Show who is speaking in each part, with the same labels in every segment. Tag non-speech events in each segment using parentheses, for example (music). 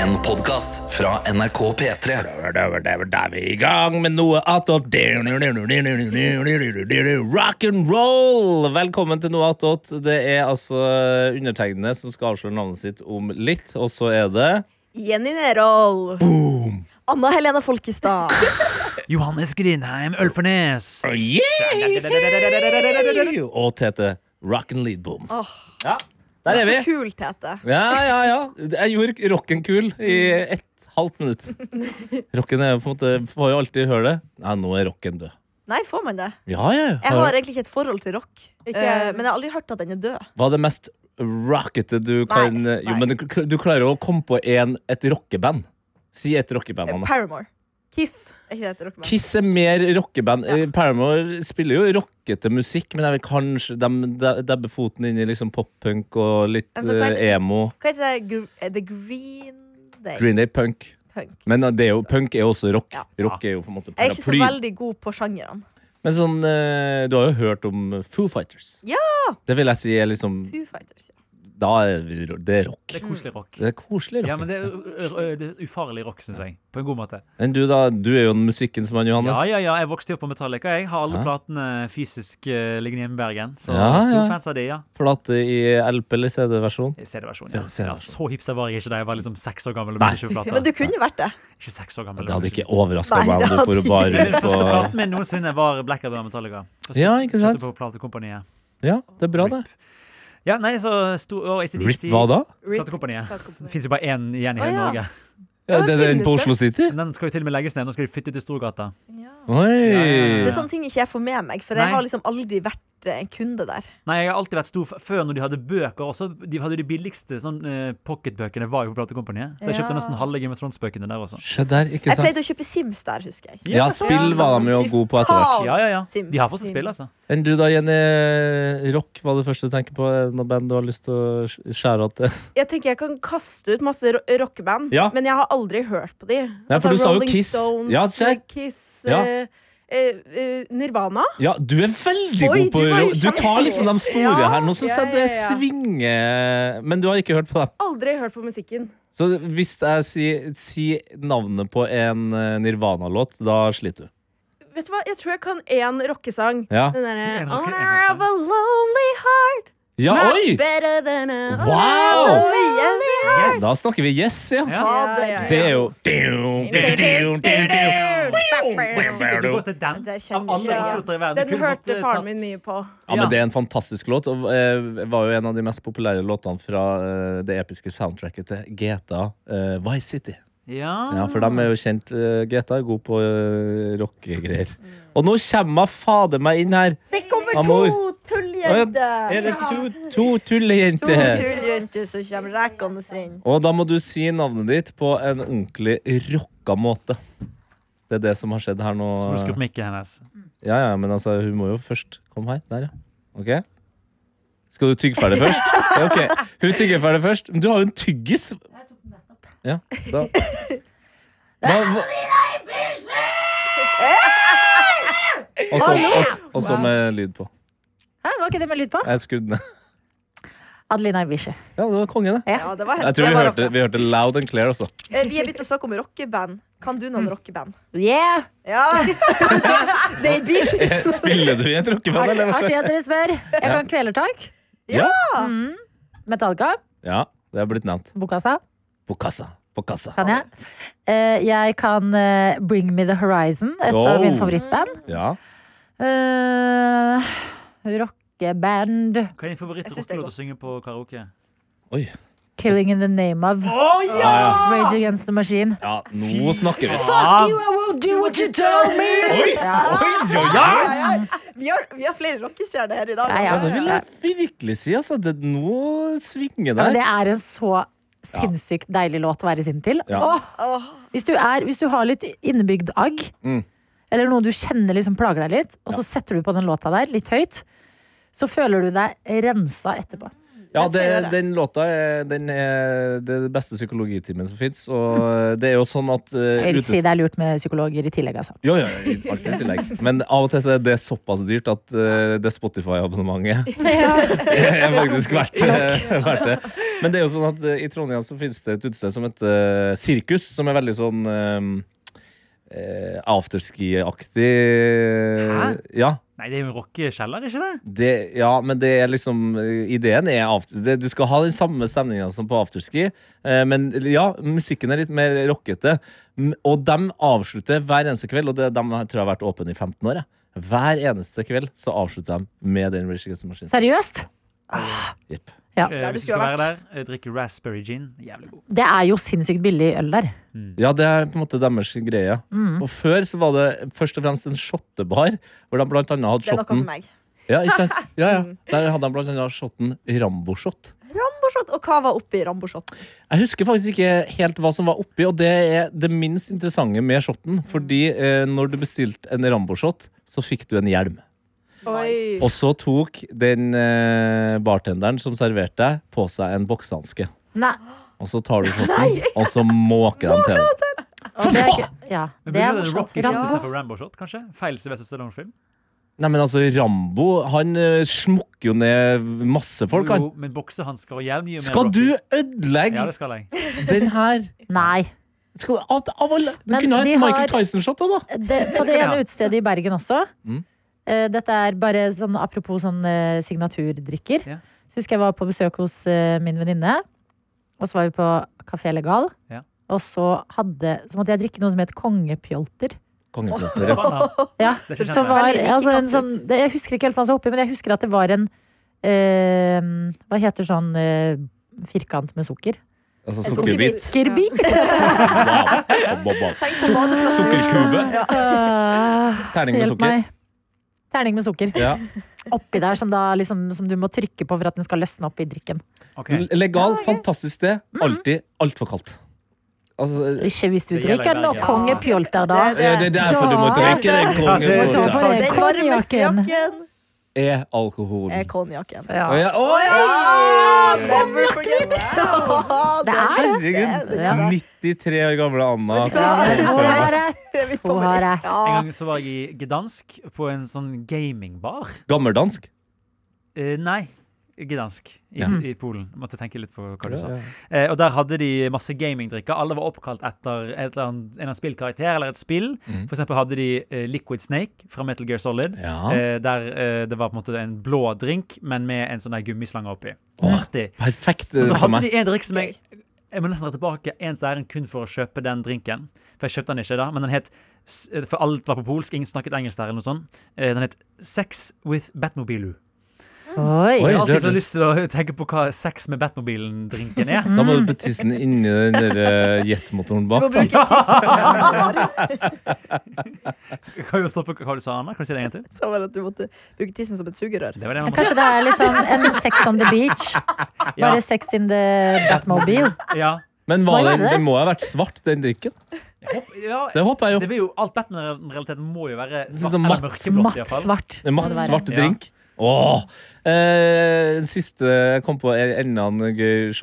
Speaker 1: En podcast fra NRK P3
Speaker 2: Da er vi i gang med noe attåt. Rock and roll! Velkommen til noe attåt. Det er altså undertegnede som skal avsløre navnet sitt om litt, og så er det
Speaker 3: Jenny Nerol. Anna Helene
Speaker 2: (laughs)
Speaker 3: Folkestad.
Speaker 4: Johannes Grindheim Ølfernes.
Speaker 2: Og Tete Rock and lead boom.
Speaker 3: Åh,
Speaker 2: Ja,
Speaker 3: det
Speaker 2: der
Speaker 3: er
Speaker 2: er vi.
Speaker 3: så kult, Tete.
Speaker 2: Ja, ja, ja. Jeg gjorde rocken kul i ett halvt minutt.
Speaker 3: (laughs)
Speaker 2: Rocken er jo på en måte Får jo alltid høre det. Nei, nå er rocken død.
Speaker 3: Nei, får man det?
Speaker 2: Ja, ja, ja.
Speaker 3: Jeg har egentlig ikke et forhold til rock.
Speaker 5: Ikke
Speaker 3: eh,
Speaker 5: jeg.
Speaker 3: men jeg har aldri hørt at den er død.
Speaker 2: Hva er det mest rockete du kan
Speaker 3: nei.
Speaker 2: Jo, men du, du klarer å komme på en, et rockeband. Si et rockeband.
Speaker 3: Eh,
Speaker 2: Anna.
Speaker 3: Paramore.
Speaker 5: Kiss.
Speaker 3: Er ikke det et rockeband?
Speaker 2: Kiss er mer rockeband. Eh, Paramore spiller jo rockete musikk, men jeg vil kanskje de de- dabbe foten inn i liksom poppunk og litt
Speaker 3: Men så hva er det-
Speaker 2: eh, emo.
Speaker 3: Hva heter det? Gr eh, The Green Day
Speaker 2: Green Day punk.
Speaker 3: Punk.
Speaker 2: Men eh, det er jo, punk er jo også rock.
Speaker 3: Ja.
Speaker 2: Rock er jo på en måte
Speaker 3: Jeg er ikke så
Speaker 2: paraply.
Speaker 3: veldig god på sjangeren.
Speaker 2: Men sånn, eh, du har jo hørt om Foo Fighters.
Speaker 3: Ja!
Speaker 2: Det vil jeg si er liksom
Speaker 3: Foo Fighters. Ja.
Speaker 2: Da er vi, det er rock.
Speaker 4: Det er koselig rock.
Speaker 2: Det er koselig rock.
Speaker 4: Ja, men det er, ø- ø- ø- det er ufarlig rock, syns jeg. På en god måte.
Speaker 2: Men du, da? Du er jo den musikkens mann, Johannes.
Speaker 4: Ja, ja, ja, jeg vokste jo opp på Metallica. Jeg har alle
Speaker 2: Ja.
Speaker 4: platene fysisk ø, liggende hjemme i Bergen. Så
Speaker 2: Ja,
Speaker 4: stor
Speaker 2: ja.
Speaker 4: fans av det, ja.
Speaker 2: plate i LP eller CD-versjon.
Speaker 4: CD-versjonen.
Speaker 2: Se- se-
Speaker 4: Ja. Ja, så hipster var jeg ikke da jeg var liksom seks år gammel. og
Speaker 2: Nei.
Speaker 4: begynte å kjøpe plater.
Speaker 3: Men du kunne vært det.
Speaker 4: Ikke seks år gammel.
Speaker 2: Det hadde
Speaker 4: men
Speaker 2: ikke overraska
Speaker 3: Nei,
Speaker 2: meg om
Speaker 3: det
Speaker 2: du for å
Speaker 3: hadde
Speaker 2: bare
Speaker 4: Men Den
Speaker 2: på
Speaker 4: første platen min noensinne var Blackadder av Metallica. Første,
Speaker 2: Ja, ikke sant?
Speaker 4: første På platekompaniet.
Speaker 2: Ja, det er bra, det.
Speaker 4: Ja, nei, så stor, og
Speaker 2: RIP
Speaker 4: ACDC.
Speaker 2: hva da?
Speaker 4: Platekompaniet. Det
Speaker 3: Platekompaniet.
Speaker 4: fins jo bare én igjen i
Speaker 3: Å,
Speaker 4: hele
Speaker 3: ja.
Speaker 4: Norge.
Speaker 2: Ja,
Speaker 3: Ja,
Speaker 2: det er den på Oslo
Speaker 3: finnes det?
Speaker 2: City?
Speaker 4: Den skal jo til og med legges ned. Nå skal de flytte til Storgata.
Speaker 3: Ja.
Speaker 4: Ja, ja,
Speaker 2: Oi!
Speaker 3: Det
Speaker 4: ja.
Speaker 3: er sånne ting ikke jeg får med meg, for
Speaker 4: Nei.
Speaker 3: jeg har liksom aldri vært eh, en kunde der.
Speaker 4: Nei, jeg har alltid vært stor f- Før når de hadde bøker også De hadde de billigste sånn eh, pocketbøkene var jo på platekompaniet. Så jeg kjøpte
Speaker 3: Ja.
Speaker 4: nesten halve Game of Thrones-bøkene der også.
Speaker 2: Se der, ikke
Speaker 3: Jeg
Speaker 2: sant?
Speaker 3: pleide å kjøpe Sims der, husker jeg.
Speaker 2: Ja, spill var de jo gode på etter hvert.
Speaker 3: Faen,
Speaker 4: Ja, ja, ja.
Speaker 3: Sims.
Speaker 4: De har fått spill, altså.
Speaker 2: Enn du da, Jenny? Rock var det første du tenker på? Er det Noe band du har lyst til å sk- skjære av til?
Speaker 5: Jeg tenker jeg kan kaste ut masse ro rockeband,
Speaker 2: Ja.
Speaker 5: men jeg har aldri hørt på de. Altså,
Speaker 2: for du sa jo
Speaker 5: Rolling
Speaker 2: Kiss.
Speaker 5: Stones,
Speaker 2: Ja, se.
Speaker 5: Kiss,
Speaker 2: Ja.
Speaker 5: eh, eh, eh, Nirvana.
Speaker 2: Ja, du er veldig
Speaker 3: Oi,
Speaker 2: god på
Speaker 3: du var jo
Speaker 2: rock. Du tar
Speaker 3: kjempegod.
Speaker 2: liksom de store
Speaker 3: Ja,
Speaker 2: her. Nå syns
Speaker 5: ja,
Speaker 2: jeg det
Speaker 5: ja, ja.
Speaker 2: svinger Men du har ikke hørt på dem?
Speaker 5: Aldri hørt på musikken.
Speaker 2: Så hvis jeg sier si navnet på en eh, Nirvana-låt, da sliter du.
Speaker 5: Vet du hva, Jeg tror jeg kan én rockesang.
Speaker 2: Ja.
Speaker 5: Den derre
Speaker 4: En rock- en
Speaker 5: Honor of a
Speaker 4: rockesang.
Speaker 5: lonely heart
Speaker 2: ja
Speaker 5: much
Speaker 2: oi!
Speaker 5: better than a
Speaker 2: Wow!
Speaker 3: Oi, jeg-
Speaker 4: Yes.
Speaker 2: Da snakker vi yes, ja.
Speaker 4: Ja.
Speaker 3: Ja, det-
Speaker 5: Ja, ja, ja.
Speaker 2: Det er jo
Speaker 4: Det er sikkert du går til den.
Speaker 3: Det kjenner
Speaker 4: Av alle
Speaker 3: jeg.
Speaker 4: rockeploter i verden.
Speaker 5: Den
Speaker 4: kunne du
Speaker 5: hørte
Speaker 4: måtte
Speaker 5: faren
Speaker 4: tatt-
Speaker 5: min mye
Speaker 4: (laughs)
Speaker 5: på.
Speaker 2: Ja, men Det er en fantastisk låt, og eh, var jo en av de mest populære låtene fra eh, det episke soundtracket til GTA eh, Vice City.
Speaker 4: Ja.
Speaker 2: Ja, For de er jo kjent eh, GTA er god på eh, rockegreier. Og nå kommer jeg fader meg inn her!
Speaker 3: Det kommer
Speaker 2: Amor.
Speaker 3: to tulljenter.
Speaker 2: Er det to, to
Speaker 3: To
Speaker 2: tullejenter?
Speaker 3: tulljenter som kommer rekkende inn.
Speaker 2: Og da må du si navnet ditt på en ordentlig rocka måte. Det er det som har skjedd her nå.
Speaker 4: Så må du skru opp mikken hennes.
Speaker 2: Ja, ja, men altså, hun må jo først Kom her, der ja Ok Skal du tygge ferdig først? Ja, Ok, hun tygger ferdig først Men du har jo en tyggis Ja, da hva, hva? Og så, og, s- og så med lyd på
Speaker 6: Hæ, var ikke det med lyd på?
Speaker 2: Jeg skrudde ned
Speaker 6: Adelina Ibishi.
Speaker 2: Ja, det var kongen det
Speaker 3: Ja, det var
Speaker 2: Jeg tror
Speaker 3: det
Speaker 2: vi
Speaker 3: var
Speaker 2: hørte, vi hørte loud and clear også
Speaker 3: rock- Eh, Vi har begynt å snakke om rockeband. Kan du
Speaker 2: Mm.
Speaker 3: noe om rockeband?
Speaker 6: Yeah!
Speaker 3: Ja! (laughs)
Speaker 2: (laughs)
Speaker 3: Det er bitches.
Speaker 2: Spiller du i et rockeband, eller? hva
Speaker 6: Artig
Speaker 2: skjer?
Speaker 6: at dere
Speaker 2: (laughs)
Speaker 6: spør. Jeg kan kvelertak.
Speaker 2: Ja.
Speaker 6: Mm. Metallica.
Speaker 2: Ja, det har blitt nevnt
Speaker 6: Bokassa.
Speaker 2: På kassa, på kassa
Speaker 6: Kan jeg. Eh, jeg kan eh, Bring Me The Horizon, et
Speaker 2: Oh.
Speaker 6: av mine favorittband.
Speaker 2: Ja,
Speaker 6: Eh, rockeband.
Speaker 4: Hva er din
Speaker 3: Jeg synes det er
Speaker 4: favorittrockelåt
Speaker 3: godt.
Speaker 4: å synge på karaoke?
Speaker 2: oi
Speaker 6: Killing In The Name Of.
Speaker 2: Oh!
Speaker 6: Rage Against The Machine.
Speaker 2: Ja, nå snakker vi
Speaker 4: Ah,
Speaker 2: Oi, oi, oi, oi
Speaker 3: Vi har, vi har flere rockestjerner her i dag.
Speaker 6: Ja, ja.
Speaker 2: Ja,
Speaker 3: altså.
Speaker 2: det vil jeg virkelig si. Altså, det nå svinger
Speaker 6: Ja,
Speaker 2: der.
Speaker 6: men det er en så sinnssykt deilig låt å være sint til.
Speaker 2: Ja.
Speaker 6: Åh,
Speaker 3: Åh,
Speaker 6: Hvis du, er, hvis du har litt innebygd agg,
Speaker 2: Mm.
Speaker 6: eller noe du kjenner liksom plager deg litt, og så setter du på den låta der litt høyt, så føler du deg rensa etterpå.
Speaker 2: Ja,
Speaker 3: jeg skal gjøre
Speaker 2: det,
Speaker 3: det.
Speaker 2: den llåta er, den er det er den beste psykologitimen som fins. Og det er jo sånn at eh,
Speaker 6: Jeg vil si
Speaker 2: utest-
Speaker 6: det er lurt med psykologer i tillegg, altså.
Speaker 2: Jo, jo, jo, alltid i tillegg. Men av og til så er det såpass dyrt at
Speaker 6: (laughs)
Speaker 2: eh, det Spotify-abonnementet er faktisk verdt, eh, verdt det. Men det er jo sånn at eh, i Trondheim så finnes det et utested som heter eh, Sirkus, som er veldig sånn eh, eh, afterski-aktig.
Speaker 4: Hæ?
Speaker 2: Ja,
Speaker 4: Nei, det er jo en rockekjeller, ikke det?
Speaker 2: det, ja, men det er liksom eh, Ideen er after, det, Du skal ha den samme stemninga som på afterski, eh, men ja, musikken er litt mer rockete. M- Og de avslutter hver eneste kveld, og det, de tror jeg har vært åpne i 15 år. Jeg. Hver eneste kveld så avslutter de med den Rage Against the Machine.
Speaker 6: Seriøst?
Speaker 2: Jepp.
Speaker 4: Eh,
Speaker 3: Der du
Speaker 4: hvis du
Speaker 3: skulle
Speaker 4: skal
Speaker 3: ha
Speaker 4: være der, eh, drikke raspberry gin. Jævlig god.
Speaker 6: Det er jo sinnssykt billig øl der.
Speaker 2: Ja, det er på en måte deres greie.
Speaker 3: Mm.
Speaker 2: Og før så var det først og fremst en shottebar, hvor de blant annet hadde
Speaker 3: Det er noe for
Speaker 2: shotten
Speaker 3: meg.
Speaker 2: ja, ikke sant? Ja,
Speaker 3: (laughs)
Speaker 2: ja. Der hadde de blant annet shotten Rambo-shot.
Speaker 3: Ramboshot. Og hva var oppi ramboshot?
Speaker 2: Jeg husker faktisk ikke helt hva som var oppi, og det er det minst interessante med shotten. Fordi eh, når du bestilte en Rambo-shot, så fikk du en hjelm.
Speaker 5: (laughs) Oi.
Speaker 2: Og så tok den eh, bartenderen som serverte deg, på seg en boksehanske.
Speaker 6: Nei,
Speaker 2: Og så tar du shotten, og så måker de til deg.
Speaker 6: og det er ikke Ja,
Speaker 4: Men
Speaker 6: det er
Speaker 4: burde det
Speaker 6: morsomt.
Speaker 4: rocket
Speaker 6: Ram-
Speaker 4: shot istedenfor Rambo shot, kanskje? Feil Sylvester Stallone-film?
Speaker 2: Nei, men altså, Rambo, han eh, smukker jo ned masse folk, han.
Speaker 4: Jo, men boksehansker og hjelm gir jo mer
Speaker 2: Skal
Speaker 4: rocket.
Speaker 2: du
Speaker 4: Ja,
Speaker 2: ødelegge
Speaker 4: det skal jeg.
Speaker 2: den her?
Speaker 6: Nei.
Speaker 2: Skal du, av, av, alle- du
Speaker 6: Men
Speaker 2: kunne ha
Speaker 6: de
Speaker 2: et Michael
Speaker 6: har-
Speaker 2: Tyson-shot òg, da.
Speaker 6: Det, på det ene
Speaker 4: Ja.
Speaker 6: utestedet i Bergen også.
Speaker 2: Mm.
Speaker 6: eh, Dette er bare sånn apropos sånn eh, signaturdrikker.
Speaker 4: Ja.
Speaker 6: Så husker jeg var på besøk hos eh, min venninne, og så var vi på Kafé Legal.
Speaker 4: Ja.
Speaker 6: Og så, hadde, så måtte jeg drikke noe som het kongepjolter.
Speaker 2: Kongeplotter.
Speaker 4: Banna.
Speaker 6: Ja.
Speaker 4: Det er
Speaker 3: Så
Speaker 4: ikke
Speaker 6: Det
Speaker 4: kjent.
Speaker 6: var,
Speaker 3: Veldig
Speaker 6: altså, en
Speaker 3: viktig
Speaker 6: sånn,
Speaker 3: konsept.
Speaker 6: det, jeg husker ikke helt hva som var oppi, men jeg husker at det var en eh, Hva heter sånn eh, firkant med sukker?
Speaker 2: Altså
Speaker 5: En
Speaker 2: sukkerbit.
Speaker 6: Sukkerbit!
Speaker 2: Wow. Bob, bob, bob.
Speaker 3: Tenk på badeplassen.
Speaker 2: Sukkerkube.
Speaker 6: (laughs)
Speaker 3: Ja.
Speaker 6: Ah,
Speaker 2: Terning med
Speaker 6: hjelp
Speaker 2: sukker.
Speaker 6: meg. Terning med sukker.
Speaker 2: Ja.
Speaker 6: Oppi der som, da, liksom, som du må trykke på for at den skal løsne opp i drikken.
Speaker 4: Ok.
Speaker 2: Legal, fantastisk sted. Alltid altfor kaldt. Altså,
Speaker 6: Mm. Ikke hvis du
Speaker 4: Det gjelder
Speaker 6: drikker
Speaker 4: i
Speaker 6: noe
Speaker 4: Bergen.
Speaker 6: kongepjolter, da.
Speaker 3: Det
Speaker 2: ja, det er derfor du må drikke den
Speaker 6: Ja,
Speaker 2: kongemåten.
Speaker 6: for
Speaker 3: Den
Speaker 6: det er
Speaker 3: varmeste
Speaker 6: konjakken.
Speaker 3: jakken
Speaker 2: Er alkoholen.
Speaker 3: er Eh, konjakken.
Speaker 6: Ja.
Speaker 2: Å ja, å ja!
Speaker 3: Never forget Ja,
Speaker 6: Det er det.
Speaker 2: Herregud.
Speaker 6: Ja.
Speaker 2: 93 år gamle Anna.
Speaker 3: Vet du hva?
Speaker 6: Men hun har rett.
Speaker 3: Det er mitt
Speaker 6: Hun har
Speaker 3: favoritt.
Speaker 6: rett.
Speaker 4: En
Speaker 3: Ja.
Speaker 4: gang så var jeg i Gdansk på en sånn gamingbar.
Speaker 2: Gammeldansk.
Speaker 4: Eh, nei, Gdansk i,
Speaker 2: Ja.
Speaker 4: i Polen. Måtte tenke litt på hva du sa.
Speaker 2: Ja,
Speaker 4: Eh, og der hadde de masse gamingdrikker. Alle var oppkalt etter et eller annet, en eller annen spillkarakter eller et spill.
Speaker 2: Mhm.
Speaker 4: For eksempel hadde de eh, Liquid Snake fra Metal Gear Solid.
Speaker 2: Ja.
Speaker 4: Eh, der eh, det var på en måte en blå drink, men med en sånn der gummislange oppi.
Speaker 2: Åh.
Speaker 4: Artig.
Speaker 2: Perfekt eh,
Speaker 4: Og så
Speaker 2: for
Speaker 4: Altså, hadde
Speaker 2: meg.
Speaker 4: de en drikk som jeg Jeg må nesten dra tilbake ens ærend kun for å kjøpe den drinken. For jeg kjøpte den ikke da, men den het s- eh, For alt var på polsk, ingen snakket engelsk der, eller noe sånt. Eh, Den het Sex with Batmobilu.
Speaker 2: Oi.
Speaker 6: Oi.
Speaker 4: Jeg har alltid
Speaker 2: det
Speaker 4: så
Speaker 2: hørtes-
Speaker 4: lyst til å tenke på hva Sex med Batmobilen-drinken
Speaker 2: (laughs)
Speaker 4: er. (laughs)
Speaker 2: Da må du på tissen inni den der eh, jetmotoren
Speaker 3: Du
Speaker 6: (laughs)
Speaker 2: bak.
Speaker 3: må bruke tissen som skyvar.
Speaker 4: Jeg Kan jo stoppe hva du sa, Anna? Kan du si det en gang til?
Speaker 3: Så var det at du måtte bruke tissen som et sugerør.
Speaker 4: Det var det man måtte
Speaker 6: Kanskje det er liksom en sex on the beach.
Speaker 4: Ja.
Speaker 6: Bare sex in the Batmobile.
Speaker 4: ja.
Speaker 2: Men
Speaker 6: Hva
Speaker 2: var
Speaker 6: er
Speaker 2: den,
Speaker 6: det?
Speaker 2: den må ha vært svart, den drikken?
Speaker 4: Hopp- ja.
Speaker 2: Det håper jeg
Speaker 4: Det
Speaker 2: jo.
Speaker 4: vil jo, alt Batman-realiteten må jo være
Speaker 2: Sånn
Speaker 4: svart
Speaker 2: som
Speaker 4: eller
Speaker 2: matt.
Speaker 4: mørkeblått. i hvert
Speaker 6: Matt
Speaker 4: fall.
Speaker 6: svart.
Speaker 2: En matt
Speaker 6: må det være.
Speaker 2: svart
Speaker 4: Ja.
Speaker 2: drink. Åh! Eh, den siste jeg kom på er enda en gøy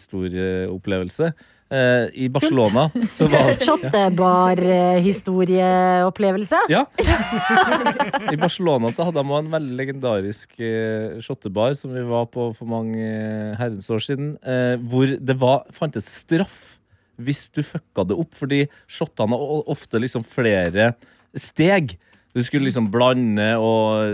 Speaker 2: shotbar-historieopplevelse. Eh, I Barcelona så
Speaker 6: (laughs)
Speaker 2: var
Speaker 6: Shottebar-historieopplevelse.
Speaker 2: Ja. I Barcelona så hadde de også en veldig legendarisk eh, shottebar som vi var på for mange eh, herrens år siden, eh, hvor det var, fantes straff hvis du fucka det opp, fordi shottene har o- ofte liksom flere steg. Du skulle liksom blande og eh,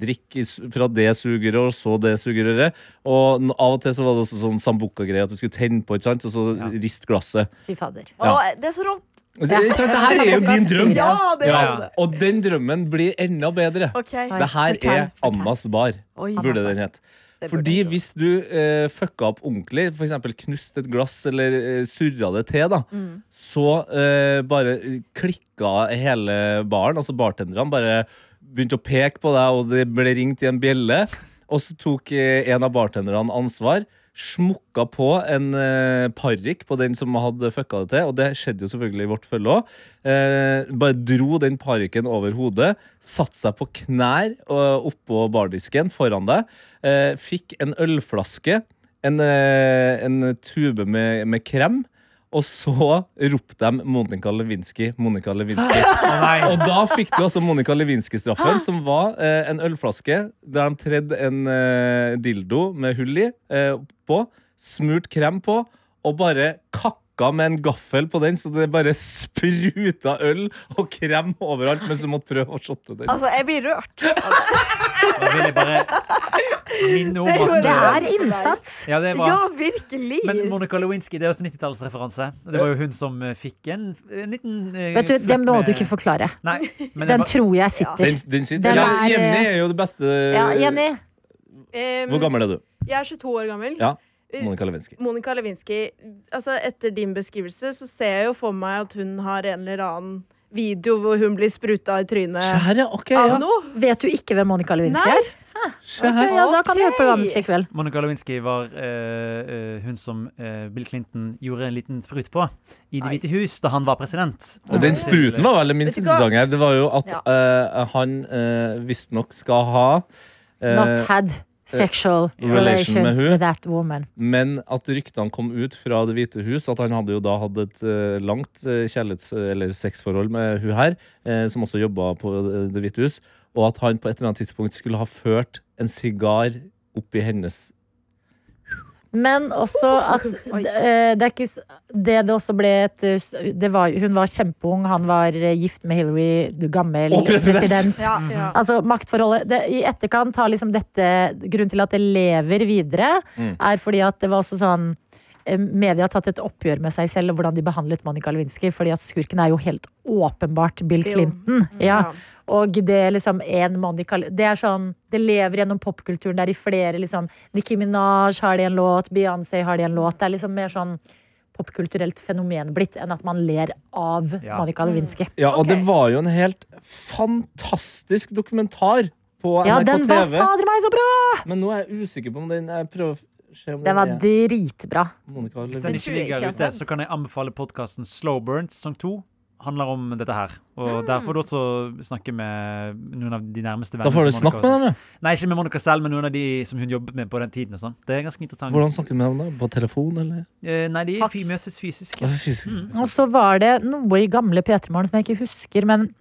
Speaker 2: drikke i s- fra det sugerøret og så det sugerøret. Og n- av og til så var det også sånn sambuca-greie at du skulle tenne på, ikke sant? og så
Speaker 4: Ja.
Speaker 2: riste glasset.
Speaker 6: Fy fader.
Speaker 3: Å, det er så rått.
Speaker 2: Det, ikke sant? det her er jo din drøm!
Speaker 3: Ja, det
Speaker 2: Ja,
Speaker 3: er
Speaker 4: Ja.
Speaker 3: det.
Speaker 2: og den drømmen blir enda bedre.
Speaker 3: OK.
Speaker 6: Oi.
Speaker 2: Det her
Speaker 3: fortell,
Speaker 2: er
Speaker 3: fortell.
Speaker 2: Annas bar,
Speaker 3: Oi.
Speaker 2: burde den het.
Speaker 3: Det burde
Speaker 2: Fordi
Speaker 3: jeg gjøre.
Speaker 2: hvis du eh, fucka opp ordentlig, f.eks. knust et glass eller eh, surra det til, da,
Speaker 3: Mm.
Speaker 2: så eh, bare klikka hele baren, altså bartenderne, bare begynte å peke på deg, og det ble ringt i en bjelle. Og så tok eh, en av bartenderne ansvar. Smukka på en eh, parrykk på den som hadde fucka det til, og det skjedde jo selvfølgelig i vårt følge òg. Eh, bare dro den parykken over hodet, satte seg på knær og oppå bardisken foran deg. Eh, fikk en ølflaske, en, eh, en tube med, med krem Og så ropte de Monica Lewinsky, Monica Lewinsky.
Speaker 4: (laughs) Å nei.
Speaker 2: Og da fikk du altså Monica Lewinsky-straffen, som var eh, en ølflaske der de tredde en eh, dildo med hull i eh, på, smurt krem på, og bare kakka med en gaffel på den, så det bare spruta øl og krem overalt mens du måtte prøve å shotte den.
Speaker 3: Altså, jeg blir rørt.
Speaker 4: Da vil jeg bare minne om
Speaker 3: Det
Speaker 4: at
Speaker 6: Det
Speaker 4: eh,
Speaker 6: er innsats.
Speaker 4: ja, det
Speaker 3: Ja,
Speaker 4: var
Speaker 3: virkelig.
Speaker 4: men Monica Lewinsky, det er også 90-tallsreferanse. Det var jo hun som eh, fikk en eh, liten eh,
Speaker 6: Vet du,
Speaker 4: flørt
Speaker 6: Det må
Speaker 4: med-
Speaker 6: du ikke forklare.
Speaker 4: Nei, men det
Speaker 6: Den
Speaker 4: var,
Speaker 6: tror jeg sitter.
Speaker 2: Den, den sitter.
Speaker 6: Den
Speaker 2: Ja,
Speaker 6: er- eh,
Speaker 2: Jenny er jo det beste.
Speaker 6: Ja, Jenny.
Speaker 5: Em,
Speaker 2: Hvor gammel er du?
Speaker 5: Jeg er 22 år gammel.
Speaker 2: Ja, Monica Lewinsky.
Speaker 5: Monica Lewinsky, altså etter din beskrivelse så ser jeg jo for meg at hun har en eller annen video hvor hun blir spruta i trynet
Speaker 2: Kjære, ok,
Speaker 5: av
Speaker 2: ja.
Speaker 5: noe.
Speaker 6: Vet du ikke hvem Monica Lewinsky
Speaker 5: Nei.
Speaker 6: er?
Speaker 2: Kjære.
Speaker 6: Ok, ja, da kan du høre på
Speaker 3: Ok.
Speaker 6: Johannes likevel.
Speaker 4: Monica Lewinsky var eh, eh, hun som eh, Bill Clinton gjorde en liten sprut på i Det
Speaker 3: Nice.
Speaker 4: hvite hus da han var president.
Speaker 2: Og Den spruten var veldig minst
Speaker 5: Vet du hva?
Speaker 2: interessant her. Det var jo at
Speaker 3: Ja.
Speaker 2: eh, han uh, visstnok skal ha eh,
Speaker 6: Not had sexual
Speaker 2: relation med
Speaker 6: relations
Speaker 2: hun.
Speaker 6: with that woman.
Speaker 2: Men at ryktene kom ut fra Det hvite hus, at han hadde jo da hatt et eh, langt eh, kjærlighets- eller sexforhold med hun her, eh, som også jobba på eh, Det hvite hus, og at han på et eller annet tidspunkt skulle ha ført en sigar oppi hennes
Speaker 6: Men også at
Speaker 3: Oi.
Speaker 6: eh, det, er ikke, s- det det også ble et eh, s- det var, Hun var kjempeung, han var eh, gift med Hillary, du gammel
Speaker 2: Og president.
Speaker 3: Ja,
Speaker 5: Ja.
Speaker 6: Altså maktforholdet det, I etterkant har liksom dette Grunnen til at det lever videre,
Speaker 2: Mm.
Speaker 6: er fordi at det var også sånn eh, Media har tatt et oppgjør med seg selv og hvordan de behandlet Monica Lewinsky. Fordi at skurken er jo helt åpenbart Bill
Speaker 5: Bill.
Speaker 6: Clinton. Mm, Ja.
Speaker 5: Ja.
Speaker 6: Og det er liksom en Monica Det er sånn Det lever gjennom popkulturen. Det er i flere liksom Nicki Minaj har det i en låt, Beyoncé har det i en låt. Det er liksom mer sånn popkulturelt fenomen blitt enn at man ler av
Speaker 4: Ja.
Speaker 6: Monica Lewinsky.
Speaker 2: Ja, Mm. og
Speaker 3: Ok.
Speaker 2: det var jo en helt fantastisk dokumentar på
Speaker 6: Ja,
Speaker 2: NRK
Speaker 6: den var
Speaker 2: TV.
Speaker 6: fader meg så bra!
Speaker 2: Men nå er jeg usikker på om den Jeg prøver å se om
Speaker 6: Den var
Speaker 2: er
Speaker 6: dritbra.
Speaker 2: Monica
Speaker 4: Hvis
Speaker 2: Lewinsky.
Speaker 3: tror
Speaker 4: den ikke
Speaker 3: jeg ikke
Speaker 4: ligger
Speaker 3: har
Speaker 4: ute,
Speaker 3: sett.
Speaker 4: så kan jeg anbefale podkasten Slow Burn sesong to. Handler om dette her. Og Der får du også snakke med noen av de nærmeste vennene.
Speaker 2: Da får du
Speaker 4: til Monica
Speaker 2: snakke med
Speaker 4: og
Speaker 2: dem,
Speaker 4: sånn.
Speaker 2: ja.
Speaker 4: Nei, ikke med Monica selv, men noen av de som hun jobbet med på den tiden. og sånn. Det er ganske interessant.
Speaker 2: Hvordan snakker du med dem da? På telefon, eller?
Speaker 4: Eh, Nei, de
Speaker 3: Fax.
Speaker 4: fy- møtes fysisk.
Speaker 2: Ja, fysisk.
Speaker 6: Og så var det noe i gamle P3-morgen som jeg ikke husker, men